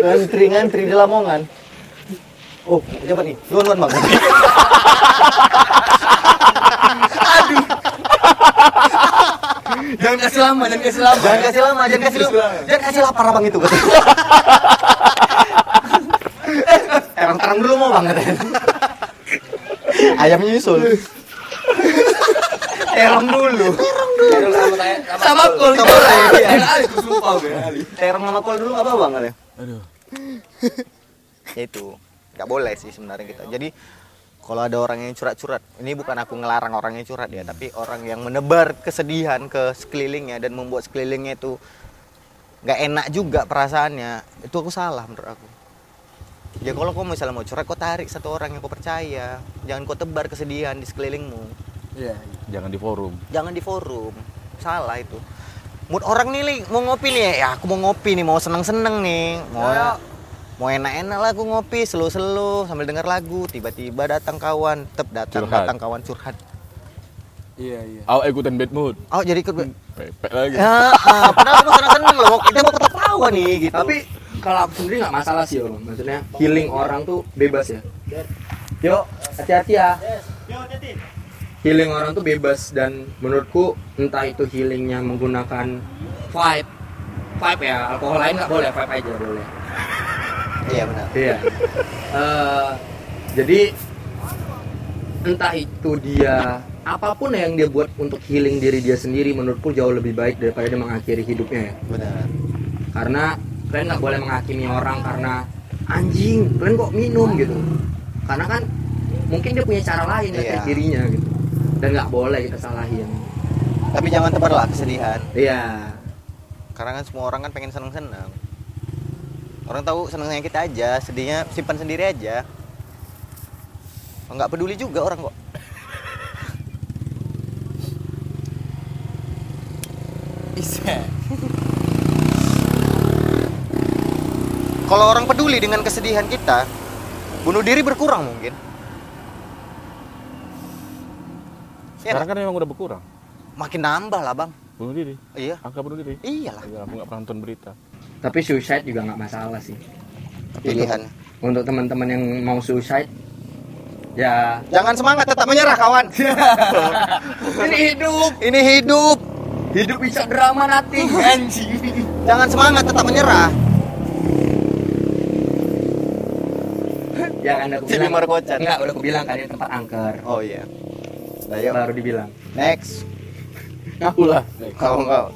ngantri ngantri di Lamongan. Oh, siapa nih? Luan Luan bang.
Jangan kasih lama, jangan kasih lama.
Jangan kasih lama, jangan kasih lama, jangan kasih lapar abang *laughs* itu. Eh, Emang terang dulu mau bang katanya. Ayamnya nyusul. Terong dulu.
Terus sama saya
Sama kol
Sama kol.
itu sumpah gue.
Terong sama kol dulu nggak apa bang katanya.
Aduh.
*laughs* Ya itu nggak boleh sih sebenarnya kita. Jadi kalau ada orang yang curhat-curhat, ini bukan aku ngelarang orang yang curhat ya, tapi orang yang menebar kesedihan ke sekelilingnya dan membuat sekelilingnya itu nggak enak juga perasaannya, itu aku salah menurut aku. Ya kalau kau misalnya mau curhat, kau tarik satu orang yang kau percaya, jangan kau tebar kesedihan di sekelilingmu,
Iya.
Jangan di forum.
jangan di forum, salah itu. Mood orang nih Li, mau ngopi nih ya, ya aku mau ngopi nih, mau seneng-seneng nih, mau
Ayo.
mau enak-enak lah aku ngopi selo-selo sambil denger lagu tiba-tiba datang kawan tep datang
Curhat.
datang kawan curhat
Iya, iya.
Aku ikutan bad mood.
oh jadi ikut gue
Pepek lagi.
ya ah, padahal aku seneng-seneng loh kita mau ketawa nih gitu
Tapi kalau aku sendiri nggak masalah sih, Om. Maksudnya healing orang tuh bebas ya. Yuk, hati-hati ya. Healing orang tuh bebas dan menurutku entah itu healingnya menggunakan vibe, vibe ya alkohol lain nggak boleh, vibe aja boleh.
iya benar
Iya. Eh, jadi entah itu dia apapun yang dia buat untuk healing diri dia sendiri menurutku jauh lebih baik daripada dia mengakhiri hidupnya ya.
benar
Karena kalian nggak boleh menghakimi orang karena anjing kalian kok minum gitu. Karena kan mungkin dia punya cara lain
Iya.
yeah. dirinya gitu. Dan nggak boleh kita salahin.
tapi jangan tebarlah kesedihan
Iya.
karena kan semua orang kan pengen seneng-seneng orang tahu senengnya kita aja sedihnya simpan sendiri aja Oh, nggak peduli juga orang kok kalau orang peduli dengan kesedihan kita bunuh diri berkurang mungkin Ya,
Sekarang kan memang udah berkurang.
makin nambah lah bang
Bunuh diri.
iya
Angka bunuh diri.
iyalah
Ya, aku nggak pernah nonton berita.
Tapi suicide juga nggak masalah sih.
pilihan
Untuk teman-teman yang mau suicide ya
jangan semangat tetap menyerah kawan
ini hidup
*laughs* ini hidup
hidup bisa drama nanti anjing
Jangan semangat, tetap menyerah.
Ya kan aku
Jadi
bilang.
markocan.
Enggak, udah aku bilang kan ini tempat angker. Ya,
Oh iya. Ayo,
Baru dibilang.
next.
Aku lah.
Kau kau. *laughs*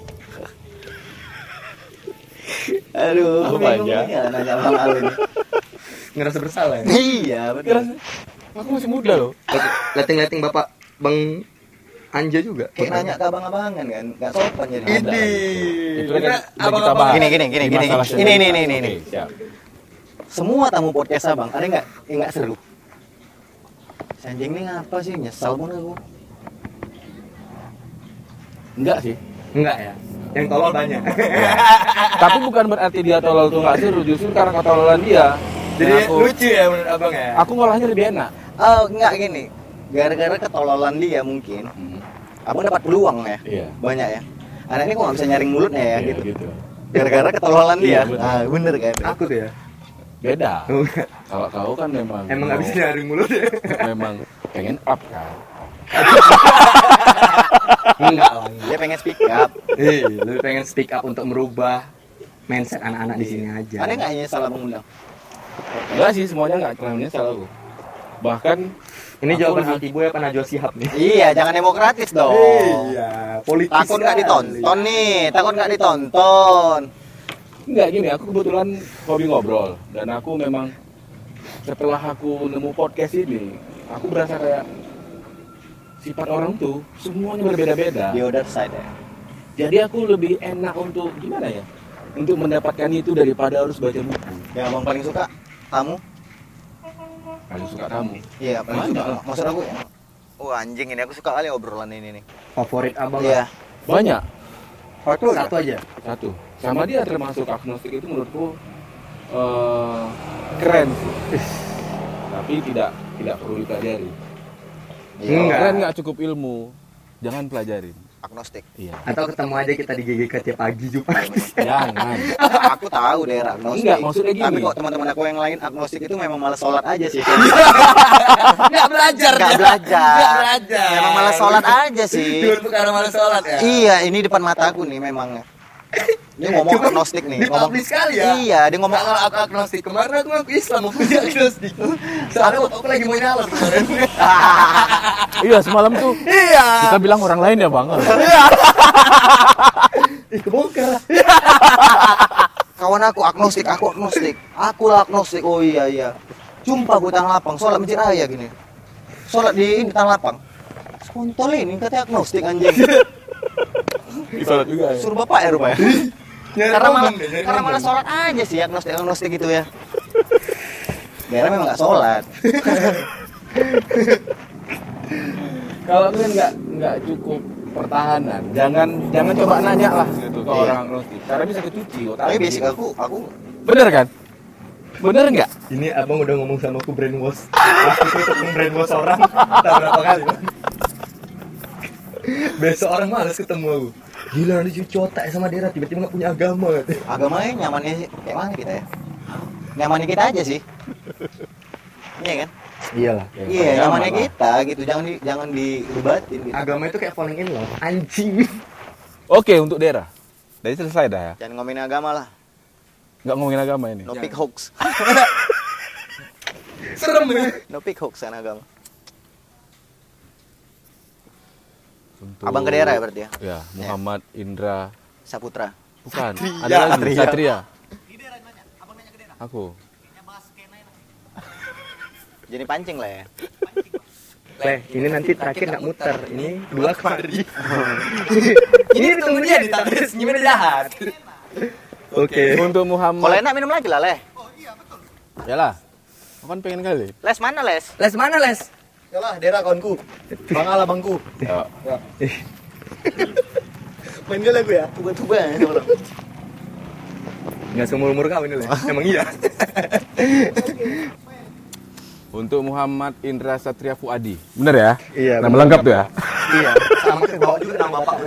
Aduh,
Apa
bingung
aja?
nih, nanya sama Alin.
Ngerasa bersalah ya?
*laughs* Iya, betul.
Aku masih muda loh.
Leting-leting Bapak Bang Anja juga.
Kayak nanya ke abang-abangan kan, nggak sopan jadi.
Ini.
Ada
Iya,
Itu kan yang
Abang-abang.
kita bahas.
Gini, gini, gini,
Di
gini.
masalah
Ini, ini, ini,
sendiri.
ini, ini.
Oke, siap.
Semua tamu podcast abang, ada nggak? yang nggak seru. Sanjing ini apa sih? Nyesal pun aku.
Enggak sih.
Enggak ya. Yang tolol banyak.
Tapi bukan berarti dia tolol tuh nggak seru, justru karena ketololan dia.
Jadi
Nah, aku,
lucu ya menurut Abang ya.
aku ngolahnya lebih enak.
Oh, nggak gini. Gara-gara ketololan dia mungkin. Abang dapat peluang ya.
Hmm, Iya.
Banyak ya. Anak ini kok nggak bisa nyaring mulutnya ya
Iya,
gitu.
gitu.
gara-gara ketololan dia.
Iya, bener.
Ah, bener kan?
Aku tuh ya.
Beda.
Oh, Enggak.
Kalau kau kan memang
Emang habis dari mulut ya?
*laughs* memang pengen up kan.
Enggak lah.
Dia pengen speak up.
Eh, lu pengen speak up untuk merubah mindset anak-anak di sini aja.
Ada Kan nggak hanya salah mengundang?
Enggak sih, semuanya enggak pernah menyesal aku. Bahkan
Ini
Aku
jawaban
lebih-
hati gue apa Najwa Sihab nih?
Iya, jangan demokratis dong.
Iya, politis.
Takut nggak
sekali.
ditonton nih, takut nggak ditonton.
enggak gini, aku kebetulan hobi ngobrol dan aku memang setelah aku nemu podcast ini, aku berasa kayak sifat orang tuh semuanya berbeda-beda.
The other side ya.
Jadi aku lebih enak untuk gimana ya? Untuk mendapatkan itu daripada harus baca buku.
Yang abang paling suka kamu?
Paling suka kamu.
Iya, paling suka.
Banyak lah.
Maksud aku. ya. Oh, Wah anjing ini aku suka kali obrolan ini nih.
Favorit Abang
Iya.
Banyak.
Kalau lu satu aja.
satu sama dia termasuk agnostik itu menurutku eh, keren sih. tapi tidak tidak perlu dipelajari
Enggak.
keren nggak cukup ilmu jangan pelajarin
agnostik
iya
Atau ketemu aja kita di GGK tiap pagi Jumat.
*laughs* jangan
*laughs* aku tahu daerah agnostik
Enggak, maksudnya gini.
tapi kok teman-teman aku yang lain agnostik itu memang malas sholat aja sih
Enggak belajar.
nggak
dia.
belajar
Nggak belajar.
memang malas sholat aja
*laughs*
sih
Cuma karena malas sholat ya.
iya ini depan mataku nih memang dia ngomong
Cuma
agnostik nih
dia
ngomong
publis sekali ya.
iya dia ngomong
Kalau aku agnostik kemarin aku aku Islam aku juga agnostik. Soalnya waktu aku lagi mau nyalon kemarin.
iya semalam tuh
Iya.
kita bilang orang lain ya bang
Ih, kebongkar.
kawan aku agnostik aku agnostik aku lah agnostik oh iya iya jumpa gue tanah lapang sholat masjid raya gini sholat di, di tanah lapang kontol ini katanya agnostik anjing
sholat juga ya
suruh bapak ya rupanya
Nyari
karena
momen
malah
deh, nyari
karena
momen.
malah sholat aja sih agnostik agnostik gitu ya daerah memang nggak sholat
kalau kalian nggak nggak cukup pertahanan jangan jangan coba nanya lah gitu ke
Iya.
orang agnostik karena bisa kecuci otak
tapi basic aku aku
bener kan bener nggak
Ini abang udah ngomong sama aku brainwash. Aku tuh brainwash orang. Tak berapa kali. Bang. Besok orang malas ketemu aku. Gila ini cuci otak sama Dera tiba-tiba nggak punya agama. katanya.
agamanya nyamannya kayak mana kita ya nyamannya kita aja sih iya kan
Iyalah.
iya
agama
nyamannya
lah.
kita gitu jangan di, jangan didebatin gitu
Agama itu kayak falling in love. Anjing.
oke untuk daerah dari selesai dah ya
jangan ngomongin agama lah
nggak ngomongin agama ini
no pick hoax
Serem ya.
no pick hoax kan agama
Untuk-
abang ke daerah ya berarti ya
ya Muhammad Indra
Saputra
Bukan, ada lagi Satria. Aku.
jadi pancing lah ya
Leh, ini nanti terakhir nggak muter. Ini dua kemari. *laughs* ini ditunggu dia di tabes. Gimana jahat? Oke.
kalau
Untuk Muhammad.
enak minum lagi lah leh
Yalah. Aku kan pengen kali.
les mana les
Les mana les?
Yalah, daerah kawanku. Bang Ala bangku.
Ya.
Manggil aku ya.
tuba-tuba ya orang.
Nggak seumur umur kau *laughs* ini les. Emang iya.
Untuk Muhammad Indra Satria Fuadi. Bener ya?
Iya,
Nama
bener.
lengkap tuh ya?
iya. Sama ke bawah juga nama bapak. *laughs*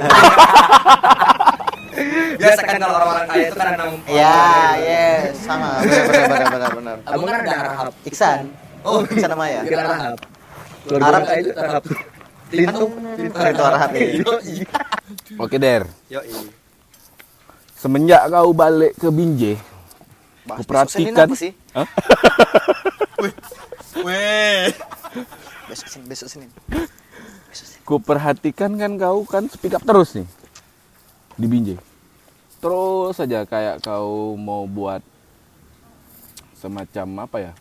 Biasa kan kalau orang-orang kaya itu kan ada nama.
ya yes sama benar benar benar benar benar
Kamu kan ada Arab.
Iksan oh Iksan nama ya
Kita Arab. Keluarga
Arab.
kaya itu Arab. Lintu.
Lintu Arab, iya.
Yoi.
Oke, Der.
Yoi.
Semenjak kau balik ke Binjai,
Bahas
aku
Senin
perhatikan.
apa sih
Hah?
Weh.
besok Senin besok Senin
Ku perhatikan kan kau kan speak up terus nih. Di Binjai. Terus saja kayak kau mau buat semacam apa ya?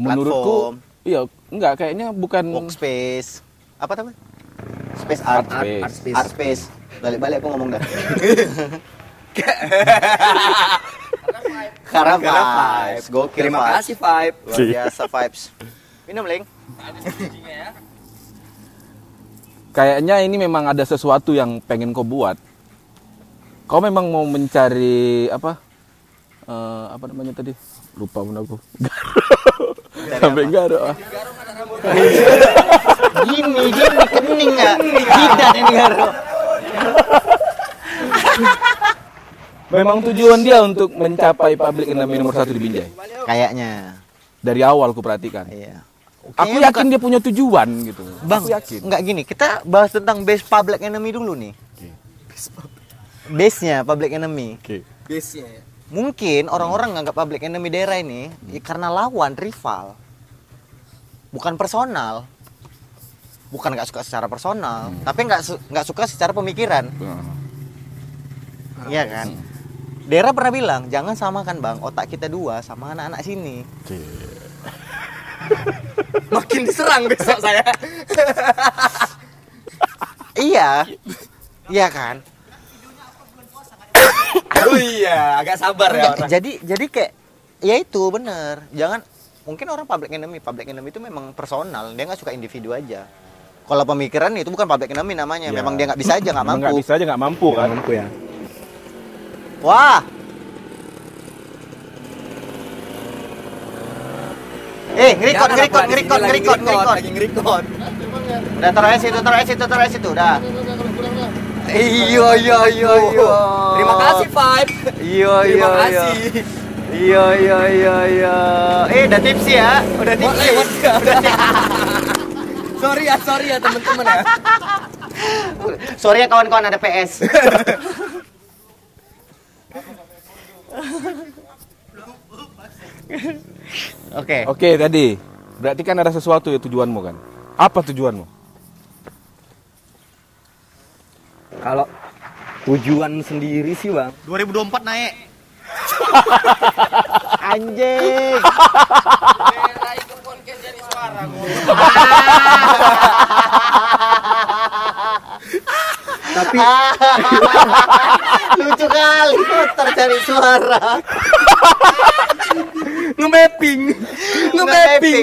Menurutku iya, enggak kayaknya bukan
workspace apa namanya space
art
art art,
space.
Artis.
space balik-balik aku *laughs* ngomong dah karena vibes gokil
Terima
vibes.
kasih Vibe.
luar biasa vibes minum leng
Kayaknya ini memang ada sesuatu yang pengen kau buat. Kau memang mau mencari apa? Eh, apa namanya tadi? Lupa pun aku. Sampai garuk. ah.
gini gini kening nggak tidak ini Garo.
Memang tujuan dia untuk mencapai public enemy nomor satu di Binjai.
kayaknya
Dari awal aku perhatikan.
iya
Aku
Kayaknya
yakin dia punya tujuan gitu.
Bang,
aku yakin.
nggak gini, kita bahas tentang base public enemy dulu nih. Base-nya public enemy.
Oke.
Base-nya ya.
Mungkin orang-orang nganggap public enemy daerah ini ya karena lawan rival. Bukan personal. Bukan nggak suka secara personal, tapi nggak su- nggak suka secara pemikiran. Iya kan? Daerah pernah bilang, jangan samakan bang otak kita dua sama anak-anak sini.
Oke.
Makin diserang besok saya.
Iya, iya kan?
Oh iya, agak sabar ya
Enggak,
orang.
jadi jadi kayak ya itu bener jangan mungkin orang public enemy public enemy itu memang personal dia nggak suka individu aja kalau pemikiran itu bukan public enemy namanya
Ya.
memang dia nggak bisa aja nggak
Emang nggak
mampu
bisa aja nggak mampu kan
Pengalamanku ya.
wah eh ngerikot
Jangan,
ngerikot
Pak, di sini
ngerikot
lagi
ngerikot ngerikot
Lagi ngerikot.
udah taruh situ taruh situ taruh situ Iya, dah iyo iyo iyo
Oh,
iyo
Terima kasih, Vibe.
iyo iyo
Terima
iyo
kasih.
iyo iyo iyo iyo iya, eh udah tips ya udah
Wah,
tips
lewat nggak? *laughs* Sorry ya, sorry ya teman-teman ya.
Sorry ya kawan-kawan ada PS. Oke.
oke tadi berarti kan ada sesuatu ya tujuanmu kan apa tujuanmu
Kalau tujuan sendiri sih, Bang.
2024 naik.
Anjing.
Tapi
*laughs* Lucu kali tercari suara.
nge-mapping. Nge-mapping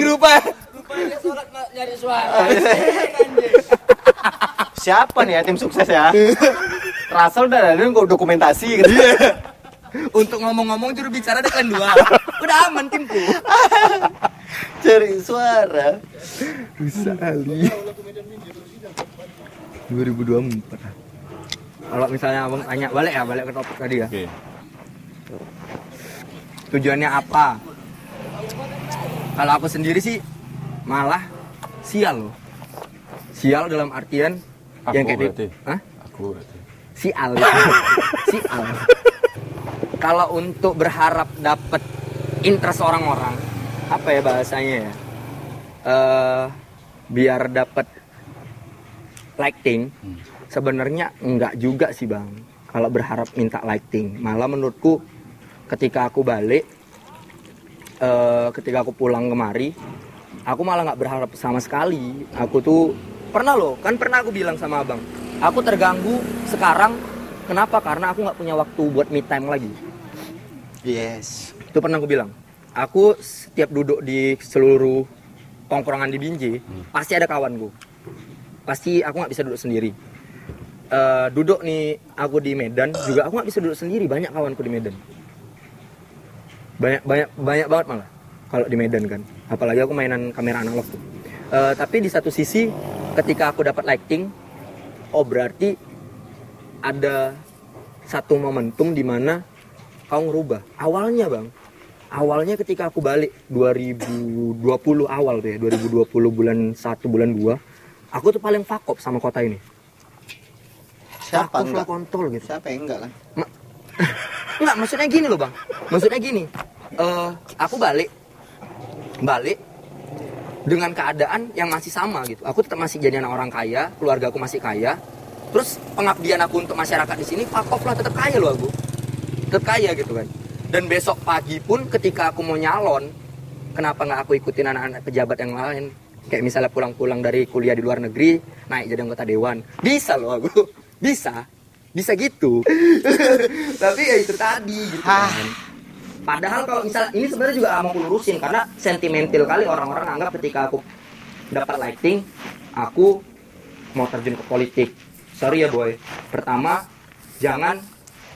Nge-mapping.
rupanya.
Rupanya sholat nggak nyari suara.
Siapa nih ya tim sukses
*laughs*
ya? Russell udah ada kok dokumentasi gitu.
Iya. Untuk ngomong-ngomong juru bicara dekan dua. Udah aman timku.
Cari suara.
Bisa kali. 2024. Kalau misalnya Abang tanya balik ya, balik ke topik tadi ya.
oke
tujuannya apa kalau aku sendiri sih malah sial loh sial dalam artian
Aku
yang kayak
berarti.
di- Hah?
aku berarti
sial sial kalau untuk berharap dapat interest orang-orang apa ya bahasanya ya Eh, biar dapat lighting sebenarnya enggak juga sih bang kalau berharap minta lighting malah menurutku ketika aku balik eh, ketika aku pulang kemari aku malah nggak berharap sama sekali aku tuh pernah loh kan pernah aku bilang sama abang aku terganggu sekarang kenapa karena aku nggak punya waktu buat me time lagi
Yes.
itu pernah aku bilang aku setiap duduk di seluruh tongkrongan di Binjai pasti ada kawanku pasti aku nggak bisa duduk sendiri Eh, duduk nih aku di Medan juga aku nggak bisa duduk sendiri banyak kawanku di Medan banyak banyak banyak banget malah kalau di Medan kan apalagi aku mainan kamera analog tuh Eh, tapi di satu sisi ketika aku dapat lighting oh berarti ada satu momentum di mana kau ngerubah awalnya bang awalnya ketika aku balik 2020 awal tuh ya 2020 bulan 1 bulan 2 aku tuh paling fakop sama kota ini
Siapa
Aku full
enggak?
kontrol gitu
Siapa yang enggak lah?
Enggak, maksudnya gini loh bang. Maksudnya gini, eh aku balik, balik dengan keadaan yang masih sama gitu. Aku tetap masih jadi anak orang kaya, keluarga aku masih kaya. Terus pengabdian aku untuk masyarakat di sini, fuck off lah tetap kaya loh aku, tetap kaya gitu kan. Dan besok pagi pun ketika aku mau nyalon, kenapa nggak aku ikutin anak-anak pejabat yang lain? Kayak misalnya pulang-pulang dari kuliah di luar negeri, naik jadi anggota dewan. Bisa loh aku, bisa, bisa gitu. *laughs* Tapi ya itu tadi gitu kan. Padahal kalau misal ini sebenarnya juga nggak mau lurusin karena sentimental kali orang-orang anggap ketika aku dapat lighting, aku mau terjun ke politik. Sorry ya boy. Pertama, jangan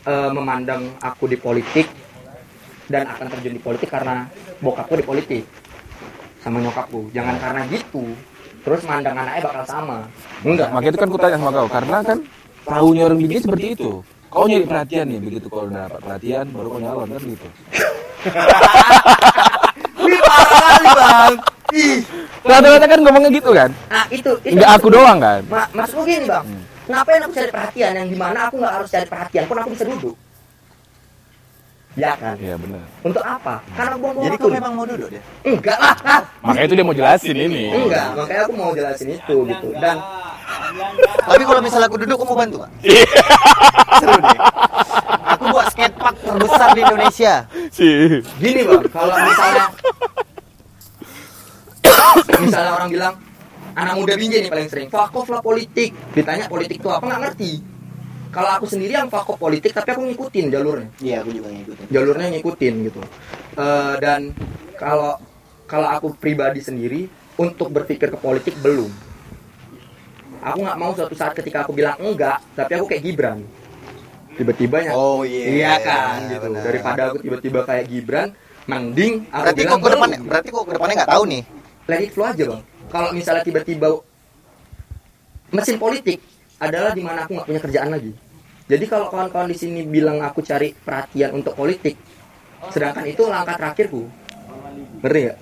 eh, memandang aku di politik dan akan terjun di politik karena bokapku di politik sama nyokapku. Jangan karena gitu. Terus mandang anaknya bakal sama. Enggak.
makanya itu kan ku tanya sama kau karena kan tahunya orang biji seperti itu kau nyari perhatian nih begitu kalau udah dapat perhatian baru kau nyalon kan gitu
Wih, parah kali, Bang. Ih.
rata-rata kan ngomongnya gitu kan
Nah, itu itu
nggak aku doang kan
Ma maksudku gini bang, ngapain aku cari perhatian yang dimana aku nggak harus cari perhatian pun aku bisa duduk. Ya kan?
iya benar
Untuk apa? Karena aku buang
Jadi
waktu.
kau memang mau duduk dia?
Enggak lah, ah,
makanya itu dia mau jelasin ini
enggak. Makanya aku mau jelasin itu gitu. Dan
Tapi kalau misalnya aku duduk, kamu bantu nggak? Seru deh. Aku buat skatepark terbesar di Indonesia.
sih
gini bang, kalau misalnya misalnya orang bilang anak muda binjai nih paling sering fuck off lah politik ditanya politik itu apa nggak ngerti kalau aku sendiri yang fuck off politik tapi aku ngikutin jalurnya
Iya, aku juga ngikutin.
jalurnya ngikutin gitu Eh, dan kalau kalau aku pribadi sendiri untuk berpikir ke politik belum aku nggak mau suatu saat ketika aku bilang enggak tapi aku kayak Gibran tiba-tiba ya
Oh iya.
iya kan
iya,
gitu
benar.
daripada aku tiba-tiba kayak Gibran mending aku
Berarti kok
bilang
ke depannya,
belum.
berarti kok ke depannya nggak tahu nih.
let it flow aja bang kalau misalnya tiba-tiba mesin politik adalah di mana aku nggak punya kerjaan lagi jadi kalau kawan-kawan di sini bilang aku cari perhatian untuk politik sedangkan itu langkah terakhirku ngerti nggak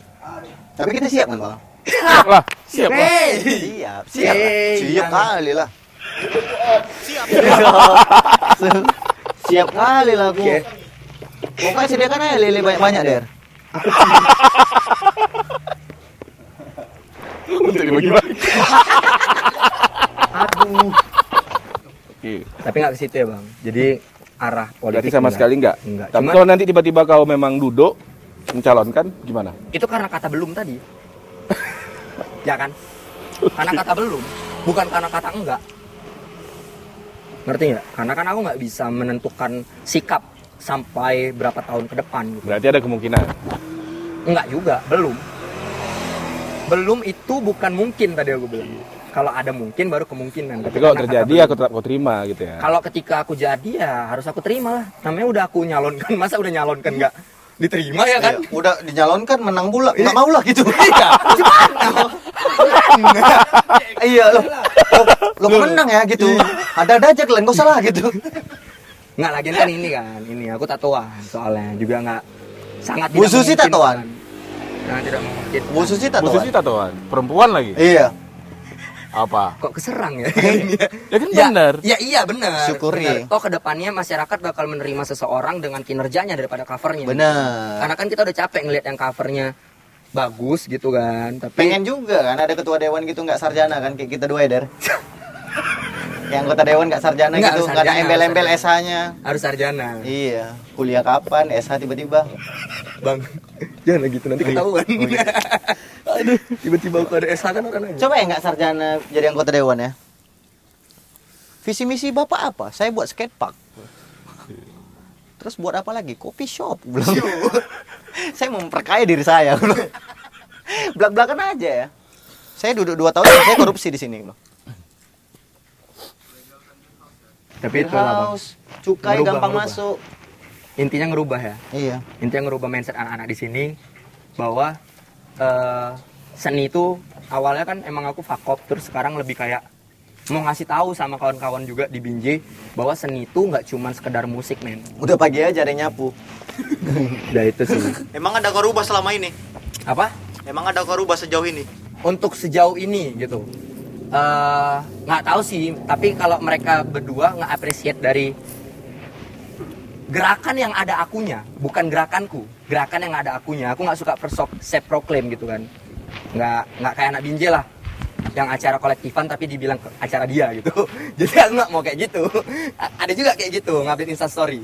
Tapi kita siap kan, Bang?
Siap lah, siap lah.
Siap, siap.
Yeay,
Siap
jangan.
kali lah. *laughs* Siap. siap kali lah aku.
Oke.
Pokoknya sediakan aja lele banyak-banyak, Der.
Untuk dibagi-bagi.
aduh
Oke.
tapi nggak ke situ ya bang jadi arah politik
Berarti sama
enggak.
sekali enggak?
Enggak.
Tapi
Cuma-
kalau nanti tiba-tiba kau memang duduk mencalonkan gimana?
itu karena kata belum tadi *laughs* ya kan karena kata belum bukan karena kata enggak ngerti nggak karena kan aku nggak bisa menentukan sikap sampai berapa tahun ke depan gitu.
Berarti ada kemungkinan.
enggak juga belum belum itu bukan mungkin tadi aku bilang kalau ada mungkin baru kemungkinan
Tapi
Tapi
kalau
karena kata
terjadi
belum.
aku tetap kau terima gitu ya.
kalau ketika aku jadi ya harus aku terima lah namanya udah aku nyalonkan *laughs* masa udah nyalonkan nggak diterima ya kan
Iya, udah dinyalonkan menang pula. Enggak mau lah gitu. *laughs* Iya. Iya lo. Lo menang ya gitu. Ada-ada aja kalian, enggak salah gitu.
Nggak lagi kan ini kan, ini aku tatoan soalnya juga nggak sangat
Bu Susi
memungkinkan.
tatoan?
Sangat Nah, tidak mungkin.
Bu Susi
Bu
tatoan.
Susi
kan?
tatoan, perempuan lagi.
Iya.
Apa?
Kok keserang ya?
Ya kan benar.
Ya *laughs* iya benar.
Syukuri.
Benar. Toh kedepannya masyarakat bakal menerima seseorang dengan kinerjanya daripada covernya.
Benar.
Karena kan kita udah capek ngelihat yang covernya bagus gitu kan, tapi
Pengen juga kan ada ketua dewan gitu nggak sarjana kan kayak kita dua ya, *laughs* Der. Yang anggota dewan nggak sarjana
Nggak,
gitu,
harus
nggak ada
sarjana,
embel-embel
harus
SH-nya.
harus sarjana.
Iya, kuliah kapan SH tiba-tiba?
Bang, *laughs* jangan gitu nanti ketahuan. *laughs* Aduh, tiba-tiba aku ada SH kan orang nanya.
Coba ya nggak sarjana jadi anggota dewan ya. Visi misi bapak apa? Saya buat skatepark. Terus buat apa lagi? Kopi shop. Belum. *laughs* saya mau memperkaya diri saya. Belak belakan aja ya. Saya duduk dua tahun, saya korupsi di sini. Bang.
Tapi itulah, Bang.
House, cukai
Ngerubah,
gampang
ngerubah.
masuk.
Intinya ngerubah ya.
Iya.
intinya ngerubah mindset anak-anak di sini bahwa eh, seni itu awalnya kan emang aku fakop terus sekarang lebih kayak mau ngasih tahu sama kawan-kawan juga di Binjai bahwa seni itu nggak cuman sekedar musik men
Udah pagi aja ada yang nyapu.
ya itu sih
Emang ada korubah selama ini?
apa
Emang ada korubah sejauh ini?
untuk sejauh ini gitu Eh, nggak tahu sih tapi kalau mereka berdua nggak appreciate dari gerakan yang ada akunya bukan gerakanku gerakan yang ada akunya aku nggak suka persok self proclaim gitu kan nggak nggak kayak anak binje lah yang acara kolektifan tapi dibilang ke- acara dia gitu *laughs* jadi aku nggak mau kayak gitu A- ada juga kayak gitu ngupdate instastory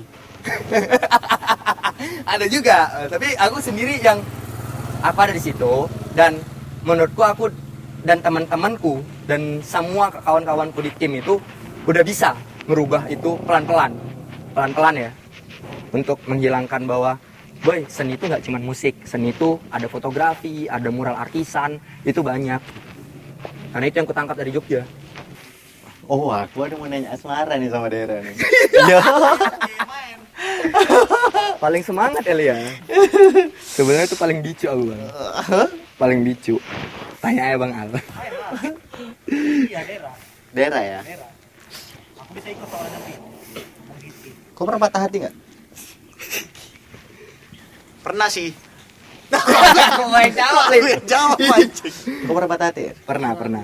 *laughs* ada juga eh, tapi aku sendiri yang apa ada di situ dan menurutku aku dan teman-temanku dan semua kawan-kawanku di tim itu udah bisa merubah itu pelan-pelan pelan-pelan ya untuk menghilangkan bahwa boy seni itu nggak cuman musik seni itu ada fotografi ada mural artisan itu banyak karena itu yang kutangkap dari Jogja
Oh, aku ada mau nanya asmara nih sama Dera nih. Ya.
paling semangat *laughs* Elia sebenarnya itu paling bicu aku bang paling bicu tanya ya bang Al
Iya, daerah.
Dera ya.
Aku bisa ikut soalnya tapi.
Kau pernah patah hati nggak? Pernah sih.
*laughs* aku main jawab
Jawab anjing. Kau pernah patah hati? ya?
pernah pernah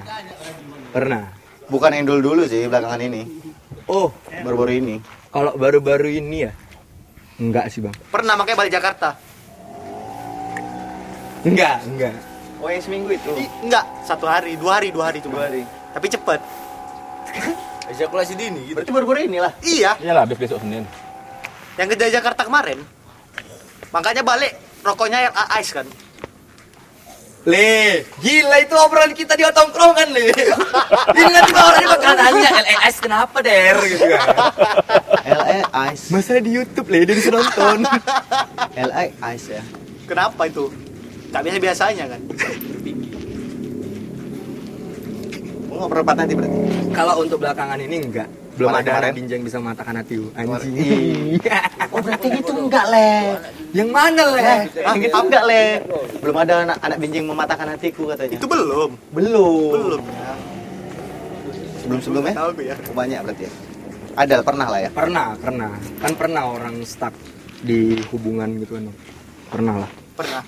pernah
Bukan yang dulu dulu sih belakangan ini.
oh
Baru-baru ini.
kalau baru-baru ini ya enggak sih bang
Pernah makanya balik Jakarta.
enggak enggak
Oh, yang seminggu itu.
Enggak, satu hari, dua hari, dua hari cuma.
Dua hari.
Tapi cepet.
Ejakulasi dini gitu.
Berarti baru-baru inilah.
Iya,
Iyalah, habis besok Senin.
yang ke Jakarta kemarin. Makanya balik, rokoknya LA Ice kan.
Le, gila itu obrolan kita di tongkrongan Le. Ini nanti orangnya bakal nanya LAS kenapa der gitu kan.
LA Ice.
Masalah di YouTube Le, dia bisa nonton.
LA Ice ya.
Kenapa
*laughs*
itu? Gak biasa-biasanya kan.
Lu nggak pernah patah hati berarti?
Kalau untuk belakangan ini enggak. Belum
Kemarin-
ada
kemarin.
binjang bisa mematahkan hati lu. Anjing. *laughs*
Kemarin. Oh berarti gitu enggak leh.
Yang mana leh?
Ah, gitu enggak leh. Belum ada anak anak binjing mematahkan hatiku katanya.
Itu belum.
belum.
Belum.
Sebelum sebelumnya?
Tahu gue ya.
Banyak berarti ya. Ada pernah lah ya.
Pernah, pernah. Kan pernah orang stuck di hubungan gitu kan. Pernah lah,
Pernah.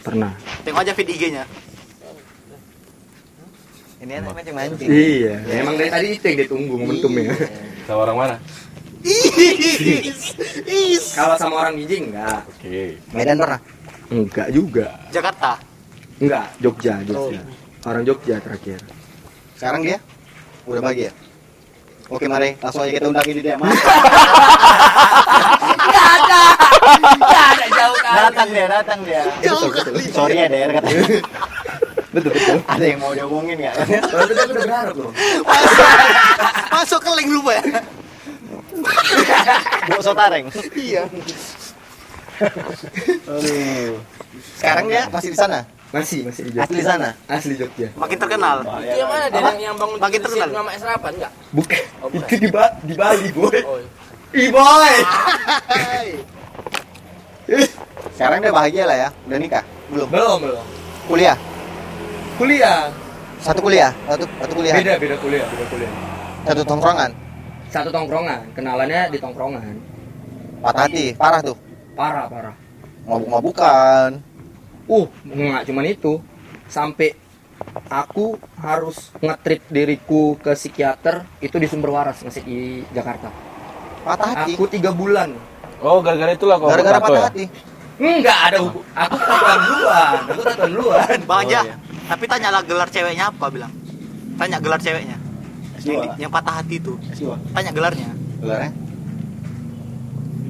pernah.
Tengok aja feed IG-nya.
Ini anak macam mancing.
Iya, emang dari tadi itu yang ditunggu momentumnya.
Sama orang mana?
Kalau sama orang binjing enggak.
Oke.
Medan pernah.
Enggak juga.
Jakarta.
Enggak, Jogja, Jogja. Orang Jogja terakhir.
Sekarang dia udah bahagia. Oke mari langsung aja kita undang ini dia *laughs* mas. datang dia, datang
*laughs*
dia.
Betul, betul.
Sorry ya Der katanya.
Betul, betul.
Ada yang mau diomongin ya? nggak?
Ya, Kalau betul, betul berharap loh.
Masuk ke link
*laughs*
lupa ya.
Bu Sotareng.
Iya.
Aduh. Sekarang dia masih di sana.
Masih, masih di Jogja.
Asli sana.
Asli Jogja.
Makin terkenal.
Itu yang mana dia
Iya, Apa?
yang- yang bangun
Makin
di
terkenal.
Nama Esrapan enggak?
Bukan.
Oh, bukan.
Itu di, ba di Bali, boy.
Oh.
Ih, boy. Eh.
Sekarang dia bahagia lah ya. Udah nikah? Belum.
Belum, belum.
Kuliah.
Kuliah.
Satu kuliah. Satu satu kuliah.
Beda, beda kuliah, beda kuliah.
Satu tongkrongan.
Satu tongkrongan, kenalannya di tongkrongan.
Patah hati. Parah tuh.
Parah, parah.
Mabuk-mabukan.
Uh, nggak cuman itu. Sampai aku harus ngetrip diriku ke psikiater itu di Sumber Waras masih di Jakarta.
Patah hati.
Aku tiga bulan.
Oh, gara-gara itulah kok. ya?
Gara-gara patah hati.
Enggak ada hubung. Aku tatuan duluan. Aku tatuan duluan.
Bang aja.
Oh, iya.
Tapi tanyalah gelar ceweknya apa bilang. Tanya gelar ceweknya. Yang,
Siwa.
yang patah hati itu.
Siwa.
Tanya gelarnya.
Gelarnya?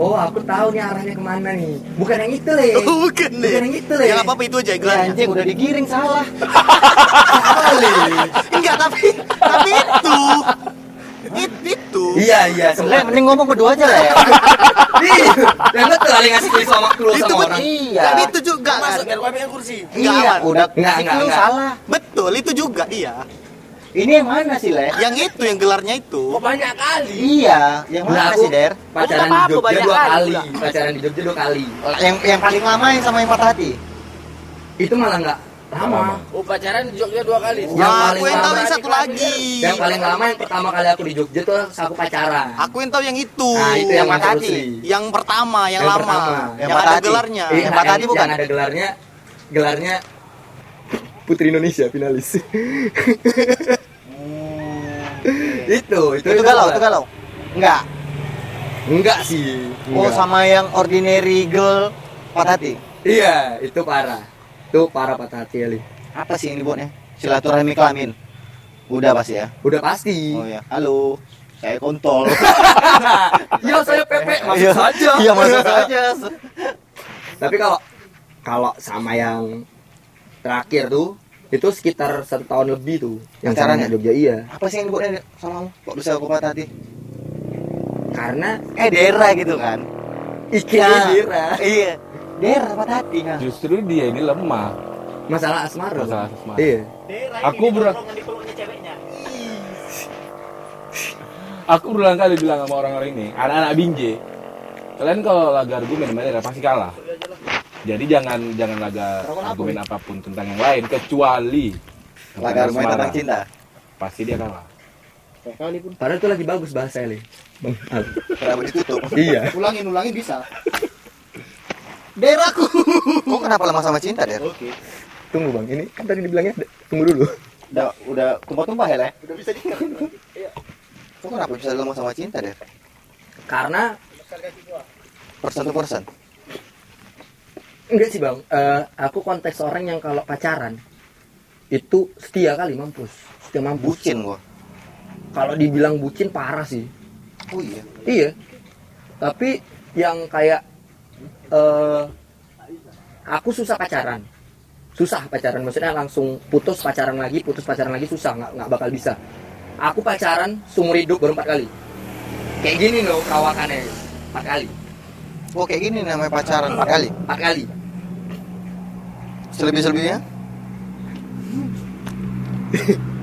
Oh, aku tahu nih arahnya kemana nih. Bukan yang itu
Eh,
le.
Oh, bukan
Bukan yang itu le.
Yang apa-apa itu aja gelarnya.
Iya, Anjing udah digiring salah.
*laughs*
Iya,
Enggak, tapi tapi itu. It, itu.
Iya iya
Leh,
semua.
mending ngomong berdua aja lah ya.
Ih, Dan lu terlalu ngasih kuis sama lu
Itu
sama
bet-
orang.
Iya.
Tapi itu juga kan.
Masuk biar gua pegang kursi.
Enggak
Iya,
aman.
udah
Enggak,
itu
enggak,
lu
enggak.
salah.
Betul, itu juga iya.
Ini yang mana sih, Leh?
Yang itu yang gelarnya itu.
Kok banyak kali?
Iya, yang
Lah,
mana
aku
sih, Der?
Pacaran
Aku
di
nggak apa-apa,
Jogja
banyak
dua
kali
kali.
udah.
Pacaran di Jogja dua kali.
Yang yang paling lama yang sama yang patah hati.
Itu malah nggak lama.
Oh, pacaran di Jogja dua kali.
Yang
Nah,
paling
aku yang tahu
lama
yang satu lagi.
Yang paling lama yang pertama kali aku di Jogja tuh aku pacaran.
Aku yang tahu yang itu.
Nah, itu yang
Patah
masuk
hati.
Rusli.
Yang pertama, yang,
Yang
lama,
pertama.
yang,
Yang patah
ada
hati.
gelarnya.
Eh,
Yang patah hati
yang
Iya, bukan?
ada gelarnya, gelarnya Putri Indonesia *laughs* finalis. itu, itu,
Itu galau, itu galau. Enggak.
Enggak sih.
Oh,
enggak.
sama yang ordinary girl patah hati.
Iya, itu parah. Itu parah patah hati Ali.
Apa sih yang dibuatnya? Silaturahmi kelamin. Udah pasti ya.
Udah pasti.
Oh ya. Halo. Saya kontol.
Iya, saya Pepe,
Iya.
masuk saja.
*laughs* Iya, masuk saja.
Tapi kalau kalau sama yang terakhir tuh itu sekitar satu tahun lebih tuh yang sama
Pacarannya?
di Jogja iya
Apa sih yang dibuatnya Der, sama kamu? Kok bisa aku patah hati?
karena
Eh, Dera gitu kan.
Iki Dira.
Iya. Dera patah hati. Nah.
Justru dia ini lemah.
masalah asmara
Masalah
Bang.
asmara.
iya
Aku ber Aku berulang kali bilang sama orang-orang ini, anak-anak binje, kalian kalau laga argumen mereka pasti kalah. Jadi jangan jangan laga argumen apapun tentang yang lain kecuali tentang
Laga rumah
asmara.
tentang cinta.
Pasti dia kalah.
padahal itu lagi bagus bahasa Ali Bang Al.
Kenapa ditutup?
iya
Ulangin, ulangin
*laughs*
bisa.
Deraku. Kok kenapa lemah sama cinta,
Oh,
Der?
Oke.
tunggu bang ini kan tadi dibilangnya ada- tunggu dulu
Udah udah tumpah-tumpah ya, Leh?
Udah bisa diikat.
Kok kenapa bisa lemah sama cinta, Der?
karena
Person to person.
enggak sih bang Eh, aku konteks orang yang kalau pacaran itu setia kali mampus setia mampus
Bucin gua.
kalau dibilang bucin parah sih
Oh iya.
Iya. Tapi yang kayak eh aku susah pacaran. Susah pacaran maksudnya langsung putus pacaran lagi, putus pacaran lagi susah nggak nggak bakal bisa. Aku pacaran seumur hidup baru empat kali. Kayak gini loh perawakannya empat kali,
Oh kayak gini namanya pacaran empat kali.
empat kali.
Selebih-selebihnya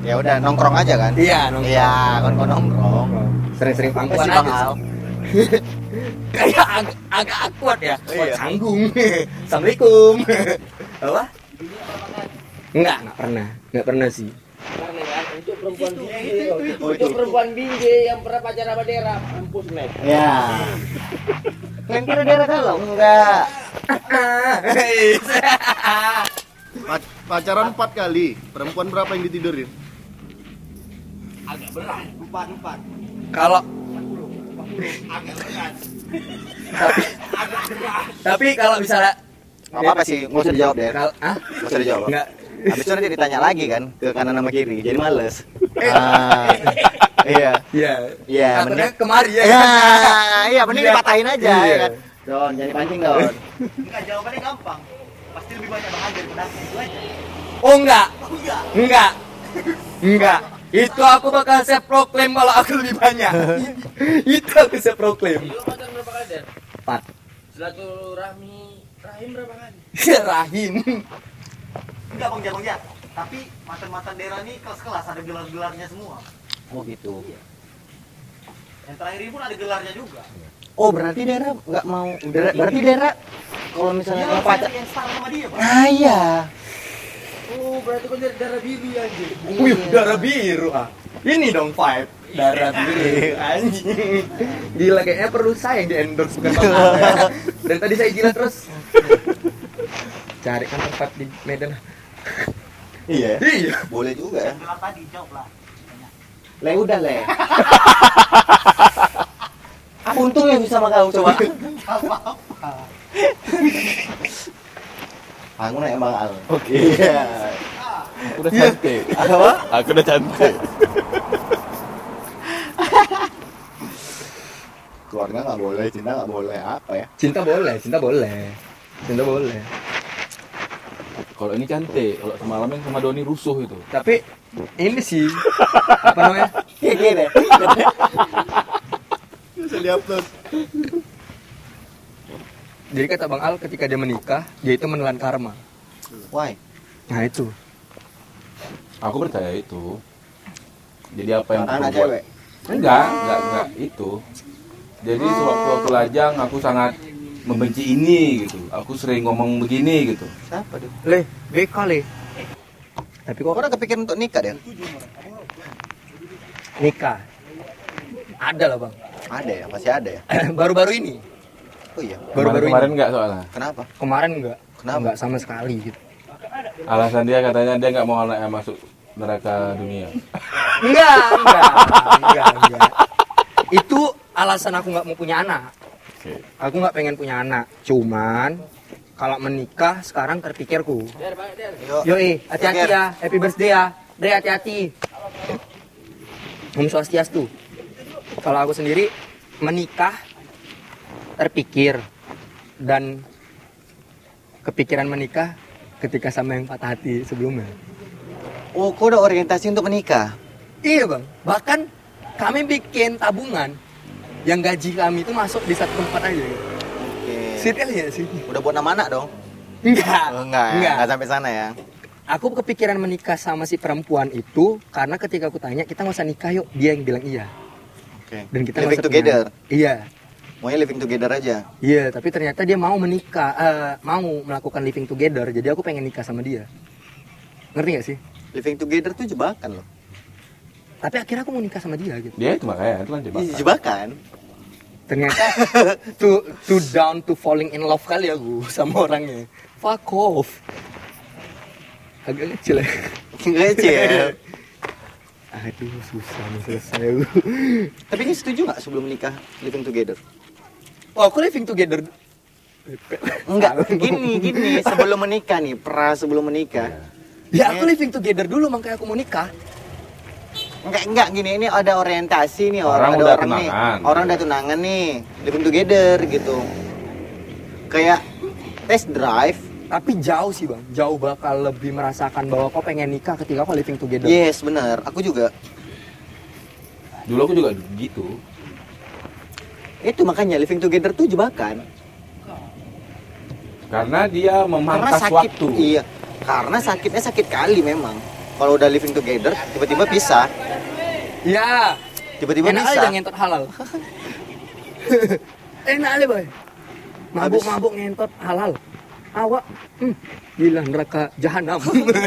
ya udah nongkrong aja kan
Iya, nongkrong.
iya kan kau nongkrong
Sering-sering pangkuan
Pasti
aja.
Bang Al.
*laughs* Kayak ag- agak akuat ya.
Iya.
Wah, Canggung. *laughs* Assalamualaikum. *laughs* Apa? Enggak, enggak pernah. Enggak pernah sih.
Karena ya, untuk perempuan binje, untuk perempuan binje yang pernah pacaran sama Dera, mampus nih.
ya kalian kira daerah galau enggak
Pa- Pacaran empat kali, perempuan berapa yang ditidurin?
Kalau tapi tapi kalau misalnya
Nggak apa-apa sih Iya, nggak usah dijawab deh
kalau ah
nggak usah dijawab
enggak
habis itu nanti ditanya lagi kan ke kanan sama kiri jadi males ah, iya
iya
Iya,
Takutnya
mending-
kemari ya
ya iya mending
Iya.
dipatahin aja ya
Iya.
kan Don jadi pancing Don
Enggak, jawabannya gampang. Pasti lebih banyak bahan daripada aku itu aja.
oh enggak enggak enggak itu aku bakal saya proklaim kalau aku lebih *laughs* banyak itu aku saya proklaim
Lu pacaran berapa kali, Der?
Empat.
Silaturahmi rahim berapa kali?
rahim
Enggak, Bang Jar, Bang Jar. Tapi mantan-mantan daerah ini kelas-kelas ada gelar-gelarnya semua. Iya.
oh gitu
Yang terakhir ini pun ada gelarnya juga.
oh berarti daerah nggak mau Daerah- berarti daerah kalau misalnya
Iya,
mau pacar
yang setara sama dia, Bang.
ah iya
Oh, berarti kau dari darah biru ya, anjir.
Wih, darah biru ah. Ini dong vibe darah biru anjing. Gila kayaknya perlu saya yang di endorse *laughs* bukan Bang Al, ya. Dari tadi saya gila terus. Cari kan tempat di Medan.
*laughs* iya
Iya.
boleh juga ya
Gelar tadi, jawab lah.
Le udah *laughs* le. Apa untungnya bisa sama kamu coba? Iya. Aku naik Bang Al. Oke. Iya.
Aku udah cantik.
Apa?
Aku udah cantik.
Keluarga nggak boleh, cinta nggak boleh, apa ya?
Cinta boleh, cinta boleh. Cinta boleh.
Kalau ini cantik, kalau semalam yang sama Doni rusuh itu.
Tapi ini sih apa namanya?
Kayak gini.
Bisa dihapus.
Jadi kata Bang Al ketika dia menikah, dia itu menelan karma.
Why?
Nah itu.
Aku percaya itu. Jadi apa yang
Anak
aku buat-
cewek.
Enggak, enggak, enggak itu. Jadi sewaktu aku lajang aku sangat membenci ini gitu. Aku sering ngomong begini gitu.
Siapa tuh?
Leh, beka leh. Tapi
Kok
kok
udah kepikiran untuk nikah, Den?
nikah? Ada lah bang. *clears throat*
Ada ya, masih ada ya.
Baru-baru ini.
Oh iya.
Baru-baru
kemarin
ini.
enggak soalnya.
Kenapa?
Kemarin enggak.
Kenapa?
Enggak sama sekali gitu.
Alasan dia katanya dia enggak mau anaknya masuk neraka dunia.
Enggak, enggak, enggak, enggak. Itu alasan aku nggak mau punya anak.
Oke.
Aku nggak pengen punya anak. Cuman kalau menikah sekarang terpikirku.
Der, Pak, Der.
Yuk.
Yoi, hati-hati ya. Happy birthday ya. Dre, hati-hati. Om Swastiastu. Kalau aku sendiri menikah terpikir dan kepikiran menikah ketika sama yang patah hati sebelumnya.
Oh, kau udah orientasi untuk menikah.
Iya bang, bahkan kami bikin tabungan yang gaji kami itu masuk di satu tempat aja. gitu.
Oke.
Serius ya sih?
Udah buat nama anak dong?
Enggak,
Oh, enggak, ya? enggak sampai sana ya.
Aku kepikiran menikah sama si perempuan itu karena ketika aku tanya kita nggak usah nikah yuk, dia yang bilang iya.
Oke.
Dan kita nggak
living
usah punya
together.
anak. Iya,
Maunya living together aja.
iya. Tapi ternyata dia mau menikah, eh, mau melakukan living together. Jadi aku pengen nikah sama dia. Ngerti gak sih?
Living together tuh jebakan loh.
Tapi akhirnya aku mau nikah sama dia gitu.
Dia itu makanya itu kan jebakan.
Iya, jebakan. *laughs*
Ternyata *laughs* too, too down to falling in love kali aku sama orangnya. Fuck off. Agak kecil ya.
Kecil.
Aduh susah nih selesai aku.
Tapi ini setuju nggak sebelum menikah living together?
Oh aku living together.
Enggak, *laughs* gini gini sebelum menikah nih, pra sebelum menikah.
Ya aku living together dulu makanya aku mau nikah.
Enggak enggak gini, ini ada orientasi nih
Orang
orang, Iya. ada
udah
orang nih.
tunangan.
Orang udah tunangan nih, living together gitu. Kayak Ya, test drive.
Tapi jauh sih bang, jauh bakal lebih merasakan bahwa kau pengen nikah ketika kau living together.
Yes, benar. Aku juga.
Dulu aku juga gitu.
Itu makanya living together tuh jebakan.
Karena dia
Karena
memangkas
sakit.
waktu.
Iya. Karena sakitnya sakit kali memang. kalau udah living together tiba-tiba pisah
Ya,
tiba-tiba
enak aja
pisah
ngentot halal. *laughs* enak aja, Boy.
Habis.
Mabuk-mabuk ngentot halal. Awak, hmm, gila neraka jahanam.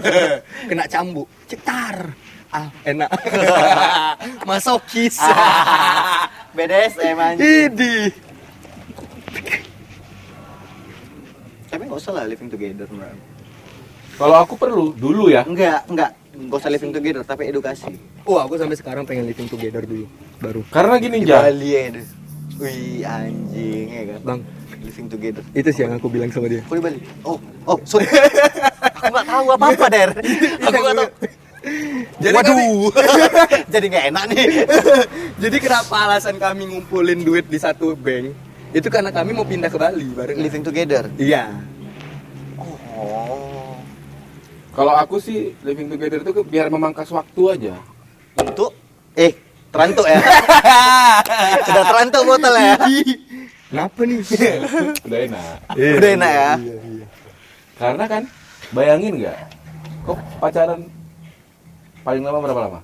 *laughs* Kena cambuk, cetar. Ah, enak. *laughs* Masokis.
BDSM anjing
*laughs* Idi.
tapi nggak usah lah living together bro.
Kalau aku perlu dulu ya.
enggak enggak nggak usah living together tapi edukasi
Wah, aku sampai sekarang pengen living together dulu. Baru.
Karena gini ja,
Bali ya wih anjing ya kan
Bang,
living together
itu sih yang aku bilang sama dia.
aku di Bali oh oh sorry aku nggak tahu apa apa der *laughs* aku nggak tahu
*laughs* Jadi
waduh jadi nggak enak nih
*laughs* Jadi kenapa alasan kami ngumpulin duit di satu bank? Itu karena kami mau pindah ke Bali bareng.
*laughs* living together
Iya.
oh
kalau aku sih living together itu biar memangkas waktu aja.
untuk eh terantuk *laughs* ya sudah terantuk botol ya
Kenapa *laughs* nih? Iya,
Udah enak.
udah enak ya
Karena kan bayangin nggak? Kok pacaran paling lama berapa lama?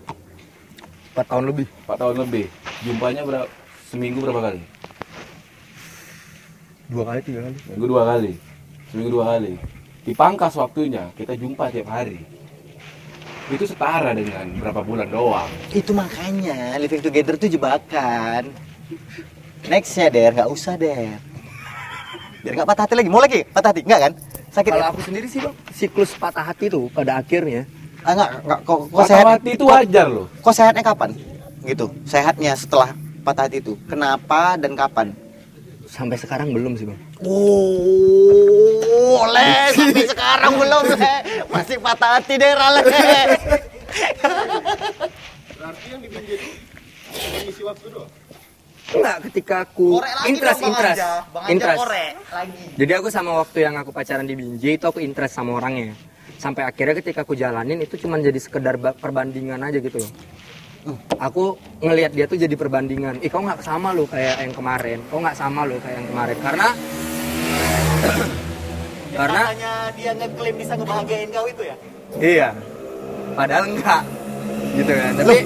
4 tahun lebih.
4 tahun lebih. Jumpanya berapa seminggu berapa kali?
Dua kali, tiga kali.
Minggu dua kali. Seminggu dua kali. Dipangkas waktunya, kita jumpa tiap hari. Itu setara dengan berapa bulan doang.
itu makanya living together tuh jebakan next ya der nggak usah der biar nggak patah hati lagi mau lagi patah hati nggak kan sakit
Kalau
ya?
aku sendiri sih, Bang, siklus patah hati tuh pada akhirnya
ah, nggak nggak kok, kok
Patah
sehat
hati itu wajar loh.
kok sehatnya kapan gitu sehatnya setelah patah hati itu kenapa dan kapan
sampai sekarang belum sih, Bang.
Oh, le, sampai sekarang belum le, masih patah hati deh le.
Berarti yang dipinjam itu mengisi waktu doang.
Enggak, ketika aku interest interest interest.
lagi.
Jadi aku sama waktu yang aku pacaran di Binjai itu aku interest sama orangnya. Sampai akhirnya ketika aku jalanin itu cuman jadi sekedar ba- perbandingan aja gitu loh.
Oh.
Aku ngelihat dia tuh jadi perbandingan. Ih kau nggak sama loh kayak yang kemarin. Kau nggak sama loh kayak yang kemarin. Karena *coughs* karena
Makanya dia ngeklaim bisa ngebahagiain kau itu ya?
iya. Padahal enggak gitu kan. Tapi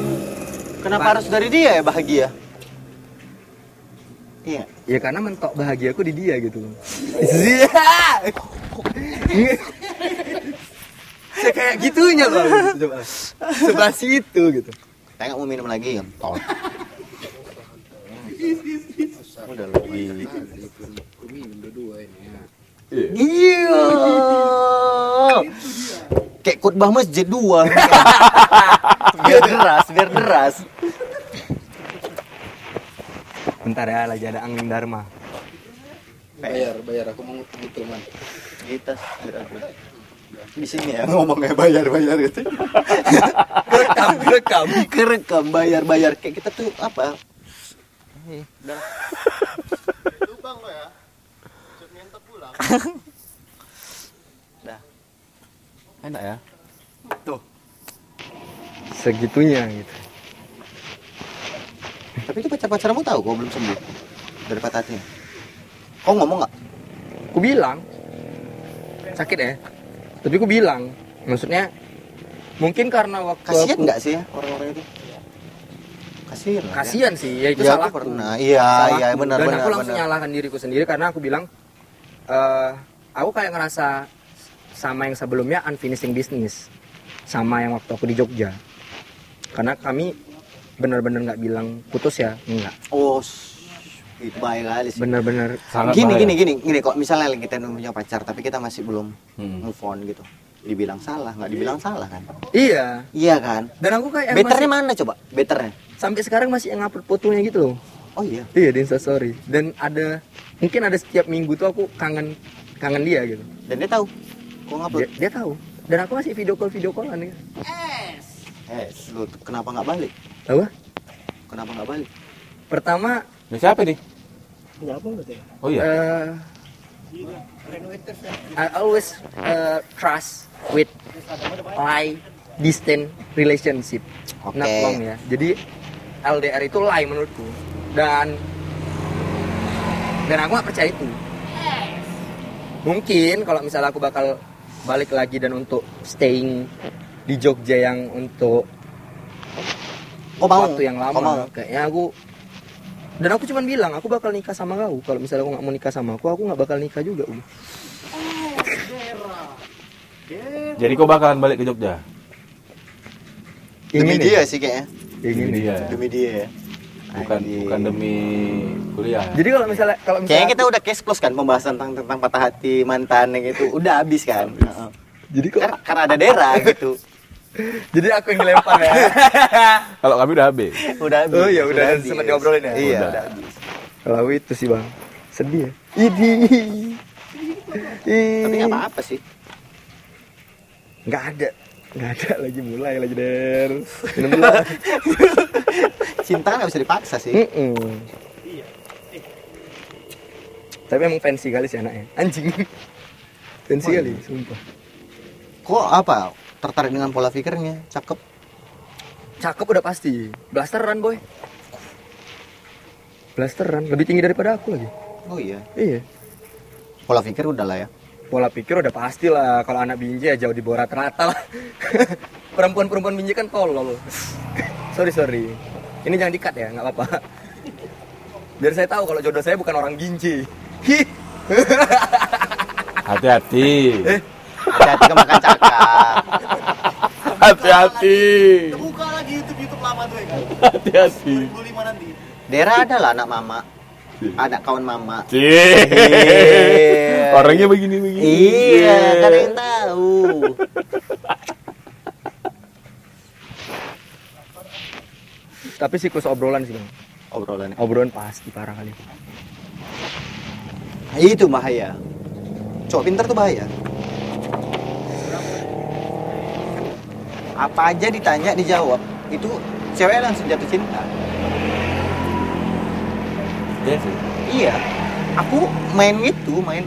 Kenapa
Pak.
harus dari dia ya bahagia? Iya.
ya karena mentok bahagia aku di dia gitu loh.
Iya.
Saya kayak gitunya loh. Coba.
*laughs*
Sebelah situ gitu.
Saya nggak mau minum lagi ya. Iya. Kayak khotbah masjid
*laughs*
dua. biar deras, biar deras.
Bentar ya lagi ada angin Dharma.
Bayar, bayar. Aku mau gitu man.
Gitu.
Kita di sini ya ngomongnya bayar bayar *laughs* gitu kerekam kerekam kerekam bayar bayar kayak kita tuh apa Eh,
Itu bang lo ya. Cepet nyentak
*laughs*
pulang.
Enak ya?
Segitunya gitu.
tapi itu pacar pacarmu tahu kok belum sembuh dari patah hatinya kau ngomong nggak
Ku bilang sakit ya. Tapi ku bilang, maksudnya mungkin karena waktu
kasian
aku-
nggak sih ya orang-orang itu kasian lah ya.
Kasian sih, ya itu
Iya,
salah.
aku pernah. Iya, iya, benar,
Dan
benar,
aku langsung
benar.
nyalahkan diriku sendiri karena aku bilang eh aku kayak ngerasa sama yang sebelumnya unfinishing business. Sama yang waktu aku di Jogja. Karena kami benar-benar nggak bilang putus ya, enggak.
oh s- itu bahaya kali sih
Benar-benar
Sangat
gini,
bahaya.
gini gini gini kok misalnya kita punya pacar tapi kita masih belum
Hmm.
move on gitu dibilang salah nggak dibilang salah kan
Iya.
iya kan
Dan aku kayak
betternya
Eh, masih-
mana coba betternya
sampai sekarang masih ngupload fotonya gitu loh.
oh iya
Iya di Instastory. Dan ada mungkin ada setiap minggu tuh aku kangen kangen dia gitu.
dan dia tahu Iya. kok
Dia,
ngupload
dia tahu. Dan aku masih video call video callan gitu.
eh lu tuh kenapa nggak balik
Apa?
kenapa nggak balik
Pertama
Ini siapa nih?
Kenapa lu teh?
Oh iya.
eh, Uh, I always eh, trust with lie distant relationship.
Oke.
Not long ya. Jadi LDR itu lie menurutku. Dan dan aku gak percaya itu. Mungkin kalau misalnya aku bakal balik lagi dan untuk staying di Jogja yang untuk
Oh, mau?
waktu yang lama
Oh, mau?
kayaknya aku dan aku cuman bilang aku bakal nikah sama kau kalau misalnya aku nggak mau nikah sama aku aku nggak bakal nikah juga Um.
Jadi kau bakalan balik ke Jogja?
Demi
Ingin
dia
ya?
sih kayaknya.
Ingin ya?
Iya.
Demi dia ya.
Bukan
Anjing.
bukan demi kuliah.
jadi kalau misalnya kalau misalnya
Kayaknya kita udah case close kan pembahasan tentang tentang patah hati mantan yang itu udah habis kan. Heeh.
jadi kok
Kan karena ada *laughs* daerah gitu.
jadi aku yang dilempar
*laughs*
ya
Kalau kami udah habis.
iya, Udah habis.
oh ya udah
habis.
sempat diobrolin ya
Iya.
Udah.
udah habis.
kalau aku itu sih bang sedih ya ini
Tapi nggak apa-apa sih.
nggak ada nggak ada lagi mulai lagi der minum dulu
Cinta kan nggak bisa dipaksa sih.
*laughs* Mm-mm. tapi emang fancy kali sih anaknya anjing fancy kali
iya.
sumpah
Kok apa? Tertarik dengan pola pikirnya, cakep.
cakep udah pasti blasteran boy blasteran lebih tinggi daripada aku lagi
Oh iya.
iya
Pola pikir udah lah ya.
pola pikir udah pasti lah kalau anak binje ya jauh di bawah rata-rata lah *laughs* perempuan-perempuan binje kan tolol *laughs* sorry sorry ini jangan dikat ya nggak apa-apa biar saya tahu kalau jodoh saya bukan orang binje Hi.
Hati-hati.
Eh, Hati-hati kemakan cakap.
Hati-hati.
Buka lagi YouTube YouTube lama tuh ya kan.
Hati-hati.
2005 nanti.
Daerah ada lah anak mama. Anak kawan mama.
Cih. Orangnya begini-begini.
Iya, kan yang tahu.
tapi siklus obrolan sih bang
Obrolannya.
obrolan pasti parah kali
Nah, Itu bahaya. Cowok pintar tuh bahaya. Apa aja ditanya dijawab, itu cewek langsung jatuh cinta.
Iya sih.
Iya. Aku main itu, main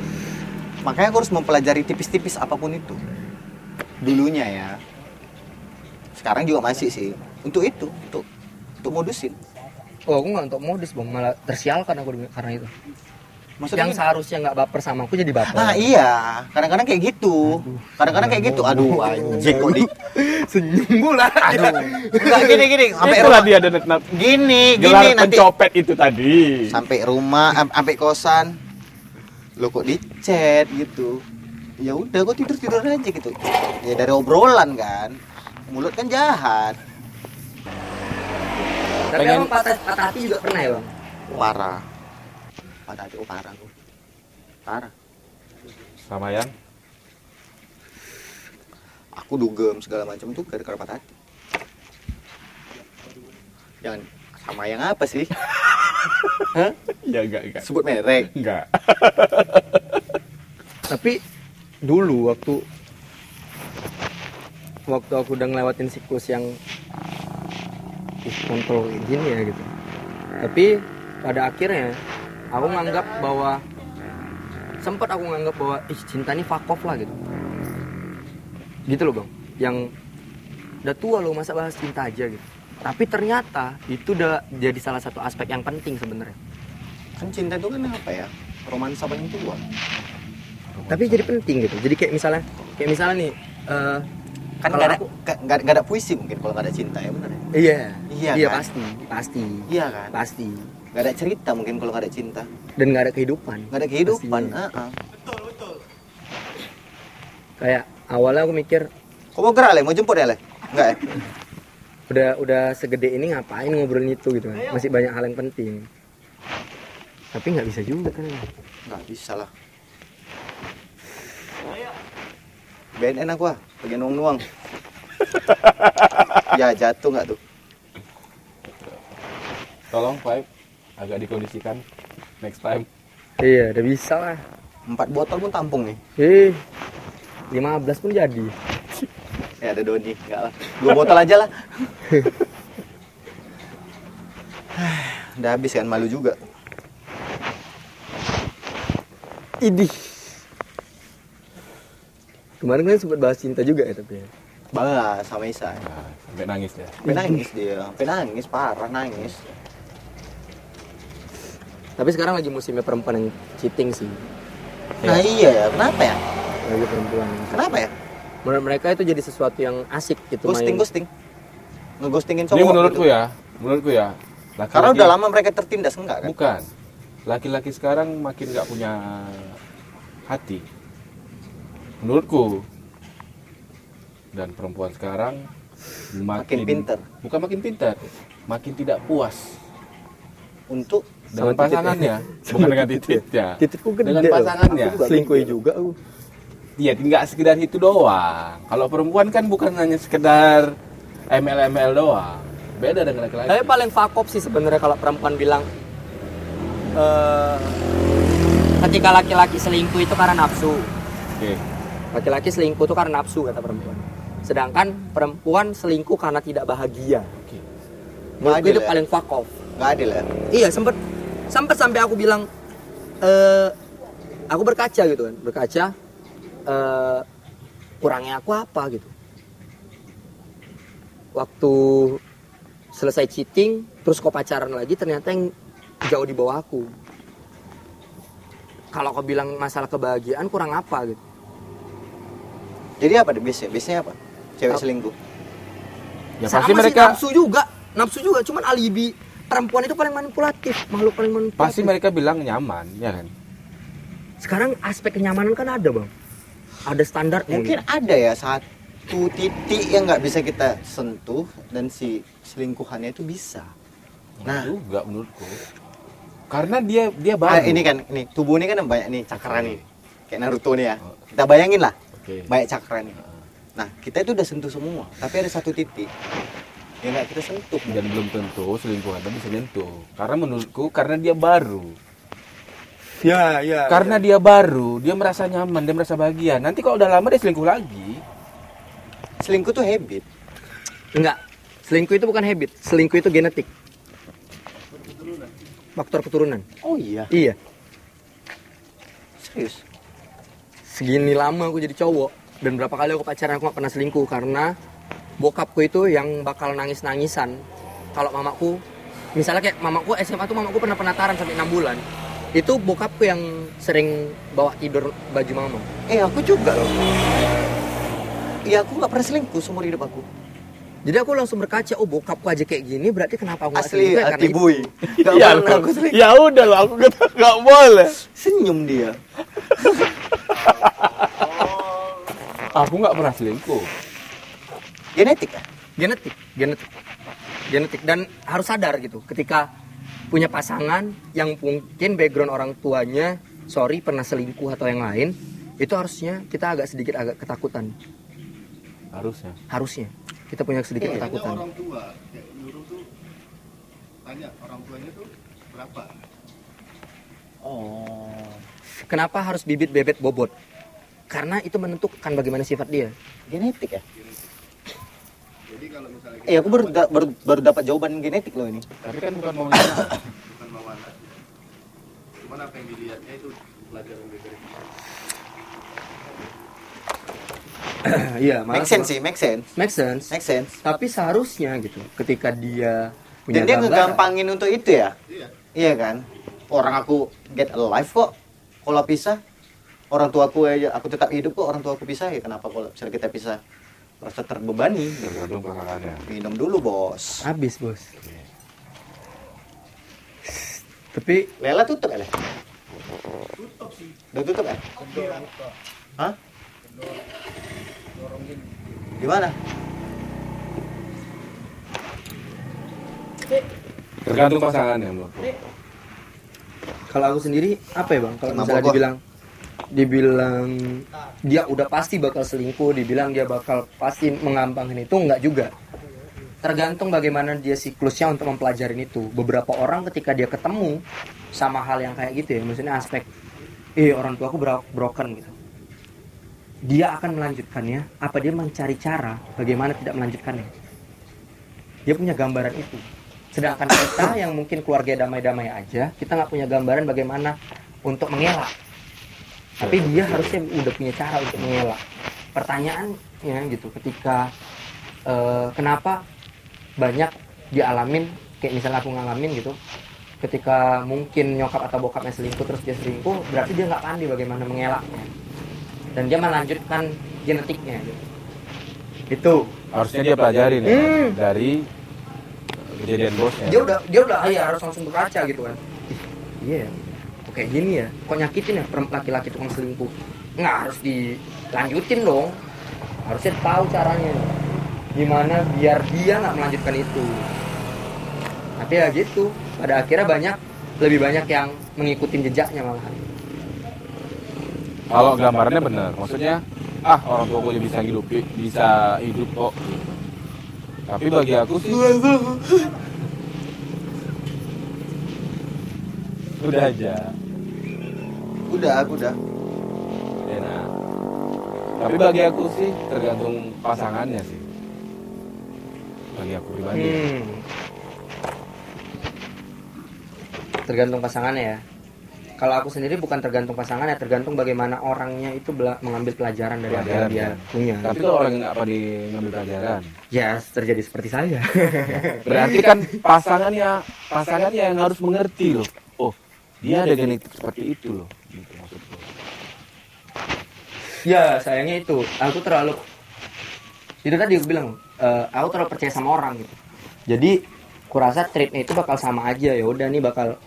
makanya aku harus mempelajari tipis-tipis apapun itu. Dulunya ya. Sekarang juga masih sih. Untuk itu, untuk untuk modusin.
oh aku nggak untuk modus bang malah tersialkan aku dengan- karena itu
Maksudnya
yang
gini?
seharusnya nggak baper sama aku jadi baper
Ah iya, kadang-kadang kayak gitu. Kadang-kadang kayak gitu. Aduh, anjing kok di.
senyum pula
Enggak gini gini, sampai
Itulah
rumah.
dia ada net- net-
Gini,
gelar
gini nanti
pencopet itu tadi.
sampai rumah, am- sampai kosan. Lo kok di chat gitu. Ya udah, kok tidur-tidur aja gitu. Ya dari obrolan kan. Mulut kan jahat.
tapi emang patah, patah hati juga pernah ya bang
Parah. Pada hati oh, parah gua. Parah.
Sama yang
Aku dugem segala macam tuh gara-gara patah hati. Jangan sama yang apa sih?
ya enggak enggak.
Sebut merek.
Enggak.
tapi dulu waktu waktu aku udah ngelewatin siklus yang ih kontrol kayak gini ya gitu tapi pada akhirnya aku nganggap bahwa sempat aku nganggap bahwa ih cinta ini fuck off lah gitu gitu loh bang yang udah tua loh masa bahas cinta aja gitu tapi ternyata itu udah jadi salah satu aspek yang penting sebenarnya
kan cinta itu kan apa ya romansa paling tua
tapi jadi penting gitu jadi kayak misalnya kayak misalnya nih eh,
kan
kalau
nggak ada
aku-
nggak- nggak nggak ada puisi mungkin kalau nggak ada cinta ya benar ya?
Iya.
Iya,
Iya
kan?
pasti, pasti,
iya kan
pasti.
nggak ada cerita mungkin kalau nggak ada cinta
Dan nggak ada kehidupan.
nggak ada kehidupan ah.
Pastinya.
Heeh.
Kayak awalnya aku mikir
kok mau gerak Le? mau jemput ya le nggak ya
udah udah segede ini ngapain ngobrolin itu gitu kan. Masih banyak hal yang penting. Tapi nggak bisa juga kan.
nggak bisa lah BNN aku ah bagian nuang nuang ya jatuh nggak tuh
Tolong Five agak dikondisikan next time.
Iya, udah bisa lah.
empat botol pun tampung nih
Eh, 15 pun jadi.
ya ada Doni nggak lah dua botol aja lah *sighs* udah habis kan malu juga
Idih. Kemarin kan sempat bahas cinta juga ya tapi. ya.
bahas sama Isa
Nah, sampai nangis ya.
Sampai nangis dia, sampai nangis parah nangis.
Tapi sekarang lagi musimnya perempuan yang cheating sih.
Nah iya ya, kenapa ya?
Lagi perempuan.
Kenapa ya?
menurut mereka itu jadi sesuatu yang asik gitu
ghosting
main.
ghosting ngeghostingin cowok
Ini menurutku
gitu.
ya, menurutku ya. Laki-laki,
karena udah lama mereka tertindas enggak kan
Bukan. Laki-laki sekarang makin nggak punya hati. Menurutku. Dan perempuan sekarang
Makin
makin,
pinter.
Bukan makin pintar, makin tidak puas
untuk
dengan
Sama titik ya. *laughs*
pasangannya, bukan dengan titiknya.
Titipku gede
Dengan
loh.
pasangannya.
Aku juga selingkuhi juga aku.
Iya, nggak sekedar itu doang. Kalau perempuan kan bukan hanya sekedar ML-ML doang. Beda dengan laki-laki.
Tapi paling fakop sih sebenarnya kalau perempuan bilang eh, ketika laki-laki selingkuh itu karena nafsu.
Oke.
Laki-laki selingkuh itu karena nafsu kata perempuan. Sedangkan perempuan selingkuh karena tidak bahagia.
Oke.
Menurutku
Adil
itu
ya?
paling fakop.
nggak adil ya
Iya sempet sempet sampai aku bilang eh aku berkaca gitu kan berkaca eh kurangnya aku apa gitu waktu selesai cheating terus kau pacaran lagi ternyata yang jauh di bawah aku kalau kau bilang masalah kebahagiaan kurang apa gitu
jadi apa deh biasanya biasanya apa cewek
Apa?
selingkuh
Ya
Sama
pasti
sih,
mereka
nafsu juga nafsu juga cuman alibi perempuan itu paling manipulatif makhluk paling manipulatif
pasti mereka bilang nyaman, ya kan?
sekarang aspek kenyamanan kan ada bang ada standar
mungkin ada ya satu titik yang nggak bisa kita sentuh dan si selingkuhannya itu bisa Nah.
Nah, juga menurutku. Karena dia dia
Ah,
baru.
ini kan ini tubuh ini kan banyak nih cakra nih kayak Naruto nih ya kita bayangin lah
Oke.
banyak cakra nih nah kita itu udah sentuh semua tapi ada satu titik yang nggak kita sentuh
Dan belum tentu selingkuhannya bisa nyentuh. Karena menurutku karena dia baru.
ya ya
Karena dia baru, dia merasa nyaman, dia merasa bahagia. Nanti kalau udah lama dia selingkuh lagi.
selingkuh tuh habit
enggak selingkuh itu bukan habit selingkuh itu genetik faktor keturunan
oh iya
iya
serius
segini lama aku jadi cowok dan berapa kali aku pacaran aku gak pernah selingkuh karena bokapku itu yang bakal nangis nangisan kalau mamaku misalnya kayak mamaku SMA tuh mamaku pernah penataran sampai enam bulan itu bokapku yang sering bawa tidur baju mama
eh aku juga loh Iya aku nggak pernah selingkuh seumur hidup aku
Jadi aku langsung berkaca, oh bokapku aja kayak gini, berarti kenapa aku nggak
Asli
selingkuh ya?
hati
itu.
bui Nggak pernah aku selingkuh
ya udah loh, aku kata nggak boleh.
Senyum dia
*laughs* Aku nggak pernah selingkuh.
Genetik ya?
Genetik, genetik, genetik. Dan harus sadar gitu, ketika punya pasangan yang mungkin background orang tuanya, sorry pernah selingkuh atau yang lain, itu harusnya kita agak sedikit agak ketakutan.
Harusnya.
Harusnya kita punya sedikit
Kayaknya
ketakutan.
Iya, orang tua kayak nyuruh tuh tanya orang tuanya tuh berapa
Kenapa harus bibit bebet bobot? Karena itu menentukan bagaimana sifat dia.
Genetik ya? Eh aku baru, da- baru, baru dapat jawaban genetik loh ini
Tapi kan bukan mau nyaman.
bukan mawana cuman apa yang dilihatnya itu pelajaran berbeda
Iya,
Make sense sih, make sense
Make sense.
Make sense
Tapi seharusnya gitu, ketika dia
Dan
punya
dia
gambaran-
ngegampangin untuk itu ya?
Iya.
Iya kan? Orang aku get alive kok Kalau pisah Orang tua aku aja, aku tetap hidup kok orang tua aku pisah ya kenapa kalau misalnya kita pisah Rasa terbebani ya
Tergantung pasangannya.
Minum dulu bos
Habis bos. Tapi
Lela tutup ya? Tutup sih. Udah tutup ya? Hah? Gimana?
Tergantung pasangannya menurutku.
kalau aku sendiri apa ya bang? Kalau
Mabok
misalnya
gua.
dibilang, dibilang dia udah pasti bakal selingkuh, dibilang dia bakal pasti mengampangin itu nggak juga. Tergantung bagaimana dia siklusnya untuk mempelajarin itu. Beberapa orang ketika dia ketemu sama hal yang kayak gitu ya, maksudnya aspek, eh orang tua aku broken gitu. Dia akan melanjutkannya, apa dia mencari cara bagaimana tidak melanjutkannya? dia punya gambaran itu. Sedangkan kita yang mungkin keluarga damai-damai aja, kita nggak punya gambaran bagaimana untuk mengelak. Tapi dia harusnya udah punya cara untuk mengelak. Pertanyaannya gitu, ketika eh, kenapa banyak dialamin, kayak misalnya aku ngalamin gitu, ketika mungkin nyokap atau bokapnya selingkuh terus dia selingkuh, berarti dia nggak pandai bagaimana mengelaknya. Dan dia melanjutkan genetiknya gitu. Itu.
harusnya dia pelajarin ya dari eh, kejadian bosnya
Dia udah dia udah ya Iya. harus langsung berkaca gitu kan. Ih, Iya. ya. Kok kayak gini ya? Kok nyakitin ya perempuan laki-laki tukang selingkuh? Nggak harus dilanjutin dong. Harusnya tahu caranya. Gimana biar dia nggak melanjutkan itu. Tapi ya gitu. Pada akhirnya banyak lebih banyak yang mengikuti jejaknya malahan.
kalau gambarannya bener maksudnya ah orang tua gue bisa hidup bisa hidup kok tapi bagi aku sih udah aja
udah aku udah
ya, nah. tapi bagi aku sih tergantung pasangannya sih bagi aku pribadi
Hmm. Tergantung pasangannya ya. Kalau aku sendiri bukan tergantung pasangannya, tergantung bagaimana orangnya itu bela- mengambil pelajaran dari apa yang
Pelajaran,
dia
kan.
punya.
tapi kalau orang yang nggak pada ngambil pelajaran
Ya terjadi seperti saya. *laughs*
berarti kan pasangannya pasangannya yang harus mengerti loh oh dia ada genetik seperti itu loh gitu maksudku
ya sayangnya itu, aku terlalu itu tadi aku bilang, eh, aku terlalu percaya sama orang gitu. Jadi kurasa treatnya itu bakal sama aja ya udah nih bakal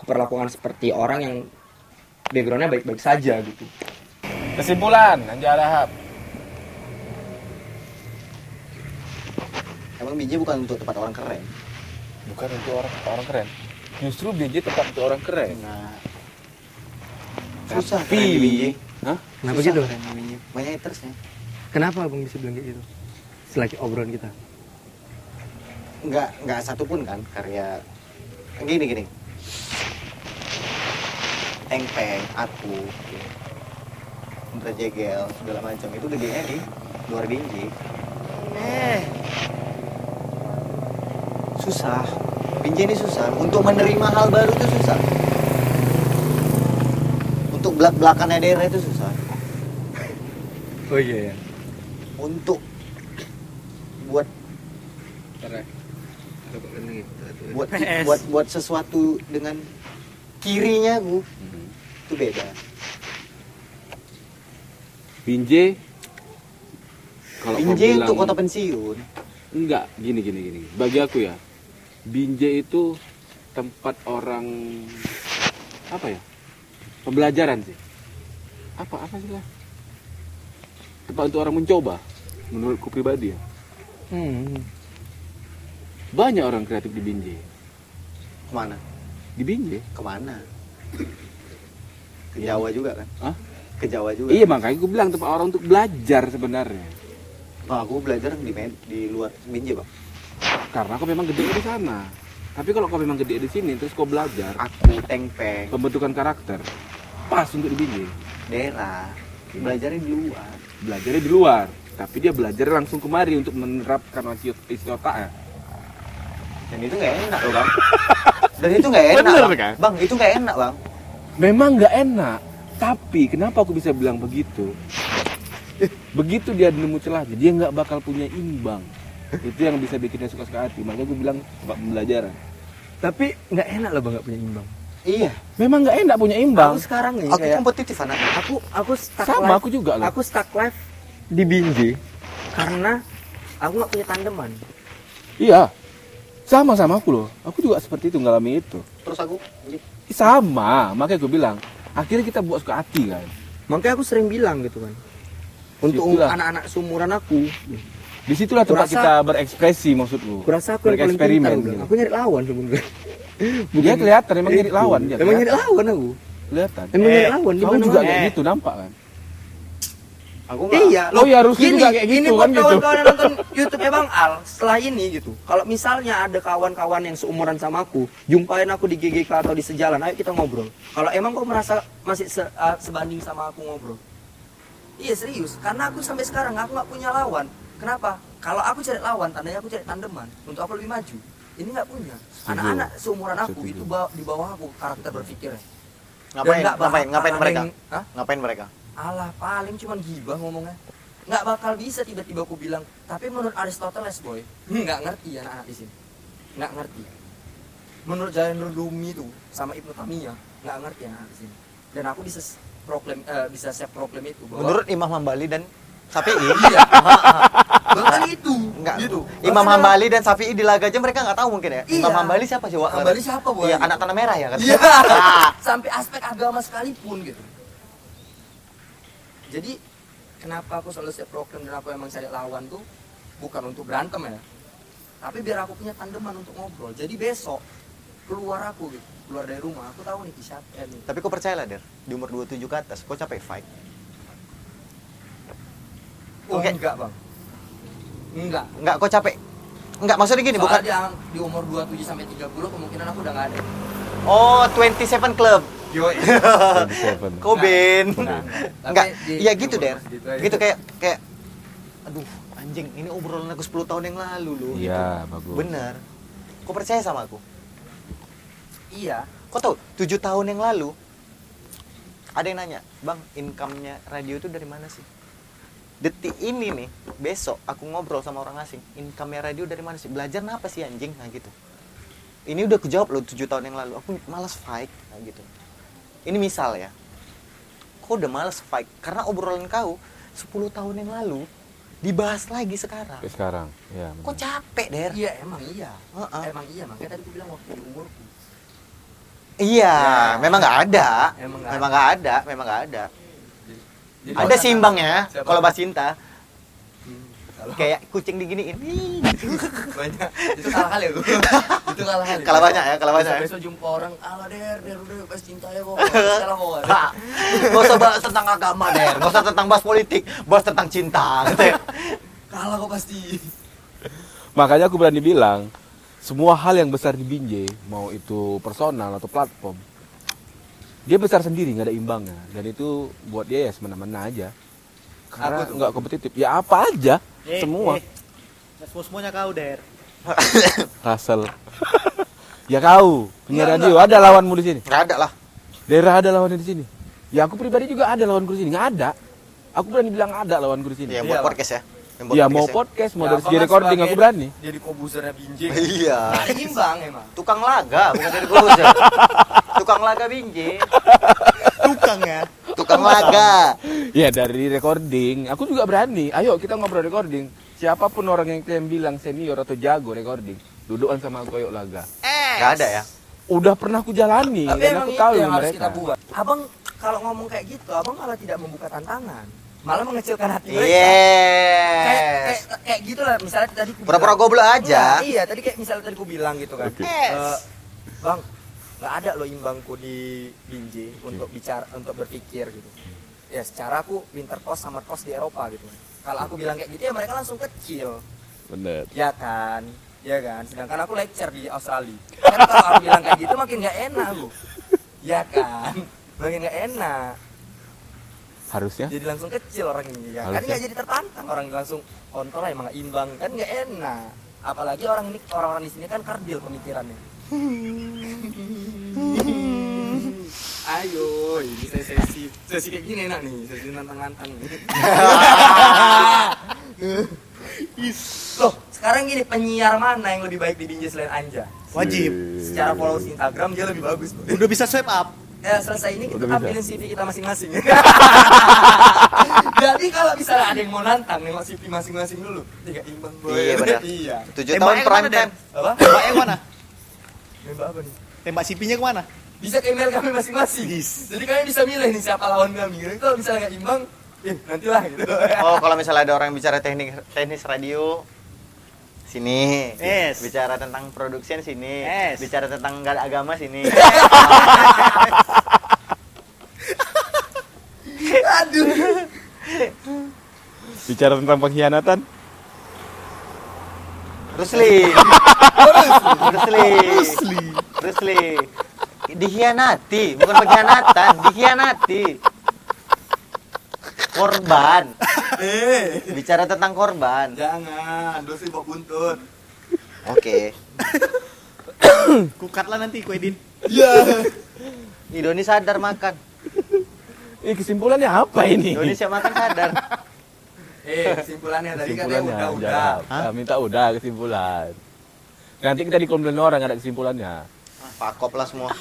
kuperlakukan seperti orang yang backgroundnya baik-baik saja gitu.
kesimpulan Anja Lahap
emang biji bukan untuk tempat orang keren
bukan untuk orang orang keren justru BJ tetap untuk orang keren
susah
tapi
keren di biji
Hah?
Kenapa
Susah
gitu?
keren di biji. banyak ya. hatersnya
Kenapa abang bisa bilang kayak gitu? Setelah obrolan kita.
nggak nggak satu pun kan karya gini gini Teng Peng, aku, Indra Jegel, segala macam itu gedenya di luar Binji. Eh, susah. Binji ini susah. Untuk menerima hal baru itu susah. Untuk belak belakannya daerah itu susah.
Oh iya ya.
Untuk buat buat buat buat sesuatu dengan kirinya aku itu beda
Binje kalau kau
Binjai
bilang-
untuk kota pensiun
enggak gini gini gini bagi aku ya Binje itu tempat orang apa ya pembelajaran sih apa apa sih lah tempat untuk orang mencoba menurutku pribadi ya
Hmm.
banyak orang kreatif di Binje
kemana
di Binje
kemana ke Jawa juga kan
Hah?
ke Jawa juga
iya makanya gue bilang tempat orang untuk belajar sebenarnya
Bang, aku belajar di med- di luar Binjai bang
karena kau memang gede di sana tapi kalau kau memang gede di sini terus kau belajar
aku tengpeng
pembentukan karakter pas untuk di Binjai
daerah belajarnya di luar
belajarnya di luar tapi dia belajar langsung kemari untuk menerapkan isi isi eh. otaknya
dan itu nggak enak loh bang dan itu nggak enak
Bener,
bang.
kan?
bang itu nggak enak bang
memang nggak enak tapi kenapa aku bisa bilang begitu begitu dia nemu celahnya dia nggak bakal punya imbang itu yang bisa bikin dia suka suka hati makanya gue bilang tempat pembelajaran
Tapi nggak enak loh bang nggak punya imbang.
iya
memang nggak enak punya imbang
Aku sekarang nih
aku
kayak
kompetitif anak
aku aku stuck
sama
life.
aku juga loh
Aku stuck life di Binjai karena aku nggak punya tandeman.
iya sama sama aku loh aku juga seperti itu ngalami itu
terus aku
sama makanya gue bilang akhirnya kita buat suka hati kan
Makanya aku sering bilang gitu kan. Untuk
Situlah.
anak-anak seumuran aku,
disitulah tempat
Kurasa-
kita berekspresi maksudku
kurasa aku yang paling pintar.
Bereksperimen
aku bilang.
gitu.
Aku nyari lawan sebenarnya.
dia kelihatan emang jadi lawan dia
Eh,
ya?
Emang nyari lawan aku.
kelihatan
Emang
Eh,
nyari lawan di
kamu
mana
juga kayak gitu nampak
*laughs*
kan
aku nggak
Iya,
Oh iya, harusnya juga kayak
gini
gitu,
buat
kan gitu.
kawan-kawan yang nonton YouTube-nya Bang Al setelah ini gitu. Kalau misalnya ada kawan-kawan yang seumuran sama aku, jumpain aku di GGK atau di sejalan, ayo kita ngobrol. Kalau emang kau merasa masih se- uh, sebanding sama aku ngobrol. Iya serius, karena aku sampai sekarang aku nggak punya lawan. Kenapa? Kalau aku cari lawan, tandanya aku cari tandeman untuk aku lebih maju. Ini nggak punya. Anak-anak seumuran aku
Setuju.
itu bawa- di bawah aku karakter berpikirnya. Dan
Ngapain?
nggak bakal
Ngapain? Ngapain
ada
mereka?
yang- Hah?
Ngapain mereka?
Alah paling cuman gibah ngomongnya nggak bakal bisa tiba-tiba aku bilang tapi menurut Aristoteles boy nggak ngerti ya anak-anak di sini nggak ngerti menurut Jainul Rumi itu sama Ibnu Tamiyah nggak ya ngerti anak-anak di sini dan aku bisa s- proklaim eh, bisa saya proklaim itu bahwa
Menurut Imam Hambali dan
Sapi *laughs*
Iya. Bahkan itu.
Enggak.
Gitu.
Imam
Bahkan
Hambali dan Syafi'i di laga aja mereka nggak tahu mungkin ya.
Iya.
Imam Hambali siapa sih, Wak?
Hambali siapa, Bu?
Iya, anak tanah merah ya kan.
Iya. Sampai aspek agama sekalipun gitu. Jadi kenapa aku selalu setiap program dan aku emang cari lawan tuh bukan untuk berantem ya. Tapi biar aku punya tandeman untuk ngobrol. Jadi besok keluar aku gitu, keluar dari rumah aku tahu nih siapa eh, nih.
*laughs* Tapi kok percaya lah, Der. Di umur 27 ke atas, kok capek fight.
Oh,
Oke.
enggak, Bang. Enggak.
Enggak, kok capek. Enggak, maksudnya gini,
Soalnya
bukan
di, di umur 27 sampai 30 kemungkinan aku udah nggak ada.
Oh, 27 Club.
Yo.
Seven.
Koben.
Nah,
Enggak,
tapi di-
iya
di
gitu,
umur
Der.
segitu aja.
*laughs* Gitu kayak kayak aduh, anjing, ini obrolan aku 10 tahun yang lalu loh.
Iya,
Gitu.
bagus.
Bener. Kok percaya sama aku?
Iya.
Kok tau, 7 tahun yang lalu ada yang nanya, Bang, income-nya radio itu dari mana sih? Detik ini nih, besok aku ngobrol sama orang asing, income-nya radio dari mana sih? Belajar apa sih anjing? Nah gitu. Ini udah kejawab loh 7 tahun yang lalu, aku malas fight, nah gitu. Ini misal ya, kau udah malas fight, karena obrolan kau 10 tahun yang lalu, dibahas lagi sekarang.
Kayak sekarang. Iya. benar.
Kok capek, Der?
Iya, emang iya.
Heeh.
Emang iya, makanya tadi aku bilang waktu di umurku.
Iya,
Ya.
memang nggak ada.
Emang nggak
Memang nggak ada, memang nggak ada.
Jadi
ada
kalau-
seimbang ya
Siapa?
kalau bahas cinta
Hmm, kalau-
kayak kucing diginiin "Ih," gitu.
banyak itu kalah kali
*laughs*
aku itu kalah kali
Kalah banyak ya, kalah banyak ya.
besok jumpa orang ala der der udah pas cinta ya kok kalah kok
Hah, nggak usah bahas tentang agama der nggak usah tentang bahas politik bahas tentang cinta gitu
*laughs*
ya.
kalah kok pasti
Makanya aku berani bilang, semua hal yang besar di Binjai, mau itu personal atau platform, dia besar sendiri, nggak ada imbangnya. Dan itu buat dia ya semena-mena aja. Karena
Apa tuh?
nggak kompetitif. Ya apa aja,
Eh,
semua.
eh. Nggak semua-semuanya kau, Der.
Russell. *laughs* ya kau, punya radio, ada lawanmu di sini.
nggak ada lah
Daerah ada lawannya di sini. Ya aku pribadi juga ada lawanku di sini, nggak ada. Aku berani bilang ada lawanku di sini.
ya
Ya,
buat
Iyalah.
podcast ya Yang buat
Iya, mau
podcast
podcast, mau dari segi recording, aku berani.
jadi kobusernya
ya.
binjing
iya
Nggak ada imbang emang
tukang laga bukan dari gurus
*laughs*
ya tukang laga binje
Tukang ya.
tukang laga
Ya dari recording, aku juga berani. Ayo kita ngobrol recording. Siapapun orang yang kalian bilang senior atau jago recording, dudukan sama aku yuk laga.
nggak ada ya
Udah pernah aku jalani,
tapi
dan
emang
aku
itu
tahu
yang harus
mereka.
kita buat abang kalau ngomong kayak gitu abang malah tidak membuka tantangan malah mengecilkan hati mereka kayak,
Iya. yes
kayak, kayak gitu lah misalnya tadi aku
pura-pura
bilang-
goblok aja
Enggak, iya tadi kayak misalnya tadi aku bilang gitu kan Eh, bang nggak ada loh imbangku di Binjai untuk bicara untuk berpikir gitu ya secara aku winter cost summer cost di Eropa gitu kalau aku bilang kayak gitu ya mereka langsung kecil
Bener.
ya kan ya kan sedangkan aku lecture di Australia kan kalau aku bilang kayak gitu makin nggak enak aku ya kan makin nggak enak
Harusnya.
jadi langsung kecil orang ini
ya.
ya kan
Harusnya.
nggak jadi tertantang orang ini langsung kontol emang nggak imbang kan nggak enak apalagi orang ini orang-orang di sini kan kerdil pemikirannya ayo ini saya sesi sesi kayak gini enak nih sesi nantang-nantang loh sekarang gini penyiar mana yang lebih baik di Binjai selain Anja
Wajib.
secara followers Instagram dia lebih bagus Boy.
Udah bisa swipe up.
Eh, selesai ini kita
Udah bisa.
tampilin CV kita masing-masing. *laughs* Jadi kalau misalnya ada yang mau nantang nengok CV masing-masing dulu, tiga imbang boy.
Iya, benar.
iya.
tujuh
Tembak
tahun
yang
prime
mana, Dan?
time
Apa?
Tembak yang mana?
Nembak apa nih?
Tembak CP-nya kemana?
Bisa ke email kami masing-masing. Jadi kalian bisa milih nih siapa lawan kami. Jadi kalau misalnya nggak imbang, eh nantilah gitu.
Oh, kalau misalnya ada orang yang bicara teknik teknis radio sini.
Yes.
Bicara tentang production sini.
Yes.
Bicara tentang nggak ada agama
*laughs*
sini.
Aduh.
Bicara tentang pengkhianatan,
Rusli. Rusli. Rusli. Rusli. Dikhianati, bukan pengkhianatan, dikhianati. Korban.
Eh,
Bicara tentang korban.
*laughs* jangan. Dosi bawa buntut.
Oke.
Kukat lah nanti ku edit.
Ya.
Idoni sadar makan.
ini kesimpulannya apa ini?
Idoni siap makan sadar.
Eh, kesimpulannya tadi kan ya
Kesimpulannya,
udah udah.
udah. Ah, minta udah kesimpulan. Nanti kita dikomplain orang ada kesimpulannya.
Pakop lah semua.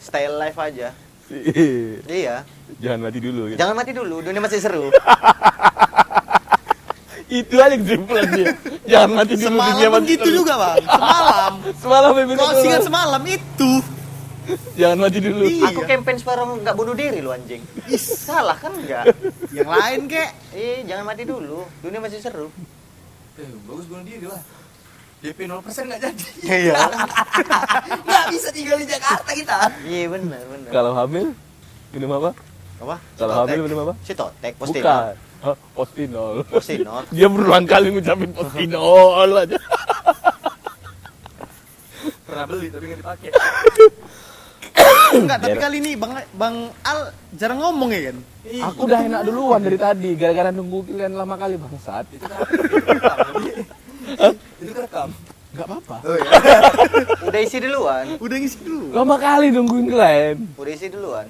Style life aja.
Iya.
Jangan mati dulu. gitu.
Jangan mati dulu, dunia masih seru.
Itu aja kesimpulan
*laughs*
dia. Jangan mati dulu.
Semalam
dunia
pun
mati
gitu
dulu.
juga bang. *laughs* Semalam.
Semalam Bebe
Kau
Nutella.
singan semalam itu.
Jangan mati dulu.
Aku campaign sekarang nggak bunuh diri lu anjing. Salah kan enggak? Yang lain kek. Eh jangan mati dulu. Dunia masih seru.
Eh, bagus bunuh diri lah. DP 0% nggak jadi.
Iya.
Nggak bisa tinggal di Jakarta kita.
Iya benar benar.
Kalau hamil minum apa?
Apa? Citotek.
Kalau hamil minum apa?
Citotek,
Bukan.
postinol.
Hah, Postinol.
Postinol.
Dia berulang kali
*laughs*
ngucapin postinol aja.
Pernah beli tapi nggak dipakai.
Enggak, tapi
Biar-
kali ini Bang Bang Al jarang ngomong ya kan?
Iya.
Aku udah enak duluan dari tadi, gara-gara nunggu kalian lama kali bangsat.
Itu kerekam.
Gak apa-apa.
Udah isi duluan.
Udah ngisi dulu.
Lama kali nungguin kalian.
Udah isi duluan.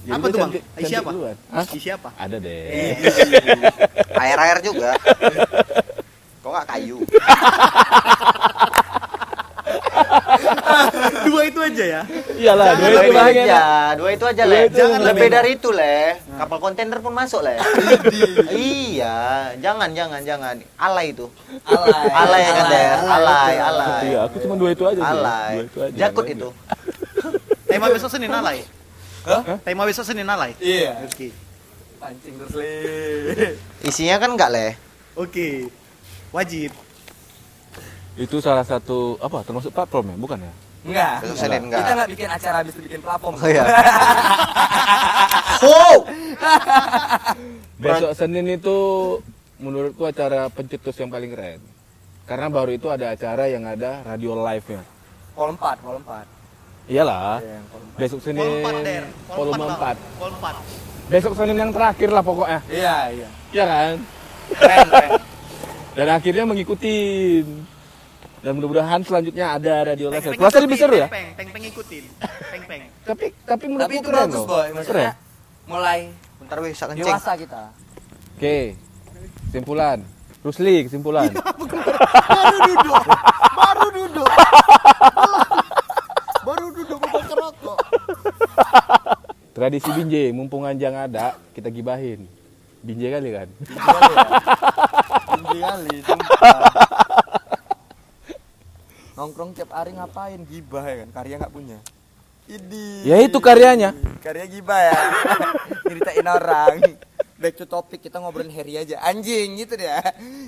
Jadi
Apa
dia
tuh, Bang?
cantik-
Isi
cantik
apa?
duluan. Hah?
Isi apa?
Ada deh.
Iya. Air-air
*laughs*
juga. Kok nggak kayu?
Dua itu aja ya.
Iyalah, dua
Dua
itu kan?
itu
banyak.
aja, dua itu aja leh.
itu
Jangan
lebih Nah.
lebih
enak.
dari itu leh. Kapal kontainer pun masuk leh. iya, jangan jangan jangan. Alay itu. Alay. Alay kan Der. Alay, alay.
Iya, aku cuma dua itu aja. sih.
Alay.
Dua itu aja.
Jakut
Dua
itu.
Tema besok Senin alay. Hah? Tema besok Senin alay.
Iya.
Oke.
Pancing terus leh.
Isinya kan enggak leh.
Oke. Wajib.
Itu salah satu apa? Termasuk platform ya, bukan ya?
Enggak.
Besok Senin
Kita
enggak.
nggak bikin acara habis itu bikin platform.
Oh
*laughs*
iya. Wow.
Besok Senin itu menurutku acara pencetus yang paling keren. Karena baru itu ada acara yang ada radio live-nya.
Kol 4, kol 4.
Iyalah.
Iya, kol 4.
Besok Senin
Pol 4 Der. Pol
volume
4.
4.
Pol 4.
Besok Senin yang terakhir lah pokoknya.
Iya, iya.
Iya kan?
Keren, keren.
Dan akhirnya mengikuti. Dan mudah-mudahan selanjutnya ada radio live. Kurasa lebih seru ya?
Peng peng peng ikutin. Peng peng.
Tapi tapi
Tapi
menurutku
itu
keren
bagus,
loh.
Boy.
Keren.
Maksudnya mulai
Bentar weh, sak kencing.
dewasa kita.
Oke. Kesimpulan. Rusli kesimpulan.
Baru duduk, baru duduk.
*laughs*
baru duduk bapak kerokok.
Tradisi binje, mumpung anjang ada, kita gibahin. Binje kali kan?
Tinggi kali, sumpah. *laughs* Nongkrong tiap hari ngapain? Gibah ya kan? Karya nggak punya. Idi.
Ya itu karyanya.
Karya gibah ya. *laughs* Ceritain orang. Back to topic kita ngobrolin Harry aja. Anjing gitu deh.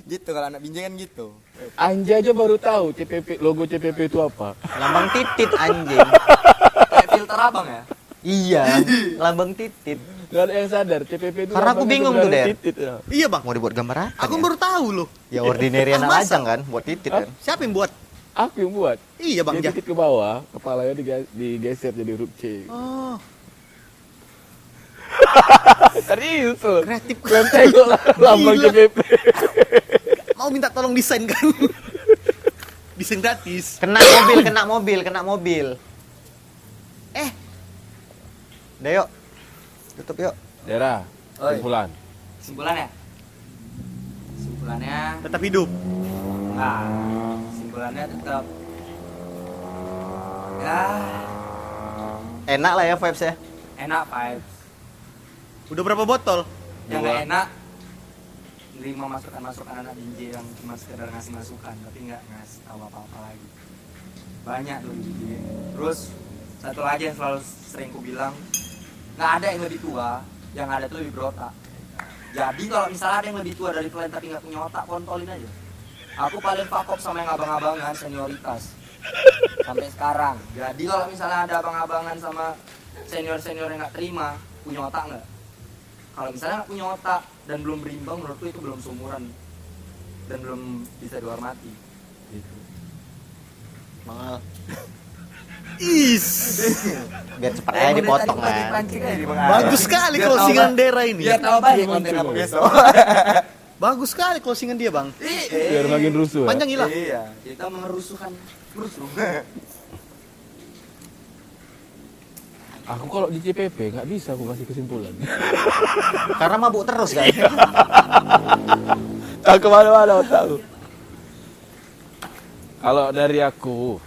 Gitu kalau anak binjai kan gitu.
Anja aja baru tahu CPP logo CPP itu apa.
*laughs* Lambang titit anjing.
Kayak filter abang ya.
*laughs*
Iya, lambang titit.
Gak ada yang sadar CPP itu.
Karena aku
lambangnya
bingung tuh,
sebenarnya
Der.
titit, ya.
*laughs* Iya, Bang.
Mau dibuat gambar apa?
Aku
ya?
baru tahu loh.
Ya
*laughs*
ordinary anak
Masa?
lajang kan, buat titit kan.
Siapa yang buat?
Aku yang buat.
Iya, Bang.
Dia
Ja.
titik ke bawah, kepalanya diga- digeser jadi huruf C.
Oh,
Serius loh.
kreatif.
Kalian tengok lah lambang
Gila.
CPP.
Mau minta tolong desain kan? desain gratis.
Kena mobil, kena mobil, kena mobil.
Eh.
Udah yuk. Tutup yuk.
Daerah.
Oi.
Kesimpulan.
Simpulannya? Simpulannya
Tetap hidup.
Nah, simpulannya tetap ya
Enak lah ya vibes ya.
enak vibes.
Udah berapa botol?
Yang nggak enak nerima masukan-masukan anak binjai yang cuma sekedar ngasih masukan tapi nggak ngasih tahu apa-apa lagi. Banyak loh di binjai. Terus satu lagi yang selalu sering ku bilang nggak ada yang lebih tua, yang ada tuh lebih berotak. Jadi kalau misalnya ada yang lebih tua dari kalian tapi nggak punya otak, kontolin aja. Aku paling fakop sama yang abang-abangan senioritas sampai sekarang. Jadi kalau misalnya ada abang-abangan sama senior-senior yang nggak terima, punya otak nggak? Kalau misalnya nggak punya otak dan belum berimbang, menurutku itu belum sumuran dan belum bisa dihormati. Gitu.
Mahal.
Is.
Biar
Iya,
cepet aja dipotong kan.
Bagus sekali closingan daerah ini.
Biar Nah, tahu baik konten
Iya.
aku besok.
Bagus sekali closingan dia, Bang.
Biar makin rusuh. ya.
Panjang hilang.
Iya, kita mengerusuhkan rusuh. *laughs*
Aku kalau di CPP nggak bisa aku kasih kesimpulan.
Karena mabuk terus kan.
Iya.
Tak kemana-mana tahu. Kalau dari aku,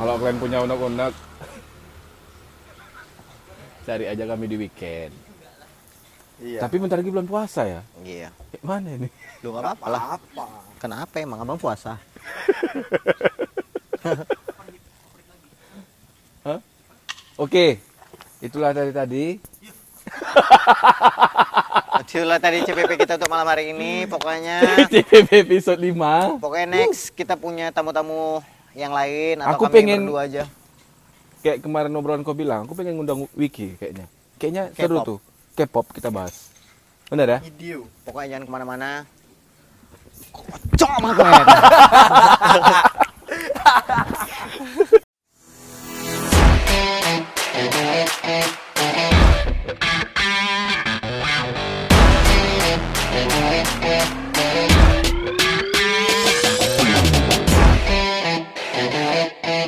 kalau kalian punya unek-unek, Cari aja kami di weekend.
Iya.
Tapi bentar lagi bulan puasa ya.
Iya.
Eh, mana ini?
Lu nggak apa-apa lah. Kenapa emang abang puasa?
Oke. Itulah dari tadi.
Itulah tadi CPP kita untuk malam hari ini. Pokoknya,
CPP episode 5.
pokoknya next kita punya tamu-tamu yang lain atau
Aku
kami
pengen-
berdua aja.
Kayak kemarin obrolan kau bilang, aku pengen ngundang Wiki kayaknya. Kayaknya seru
K-pop.
tuh. K-pop kita bahas. Benar ya?
Pokoknya jangan kemana-mana.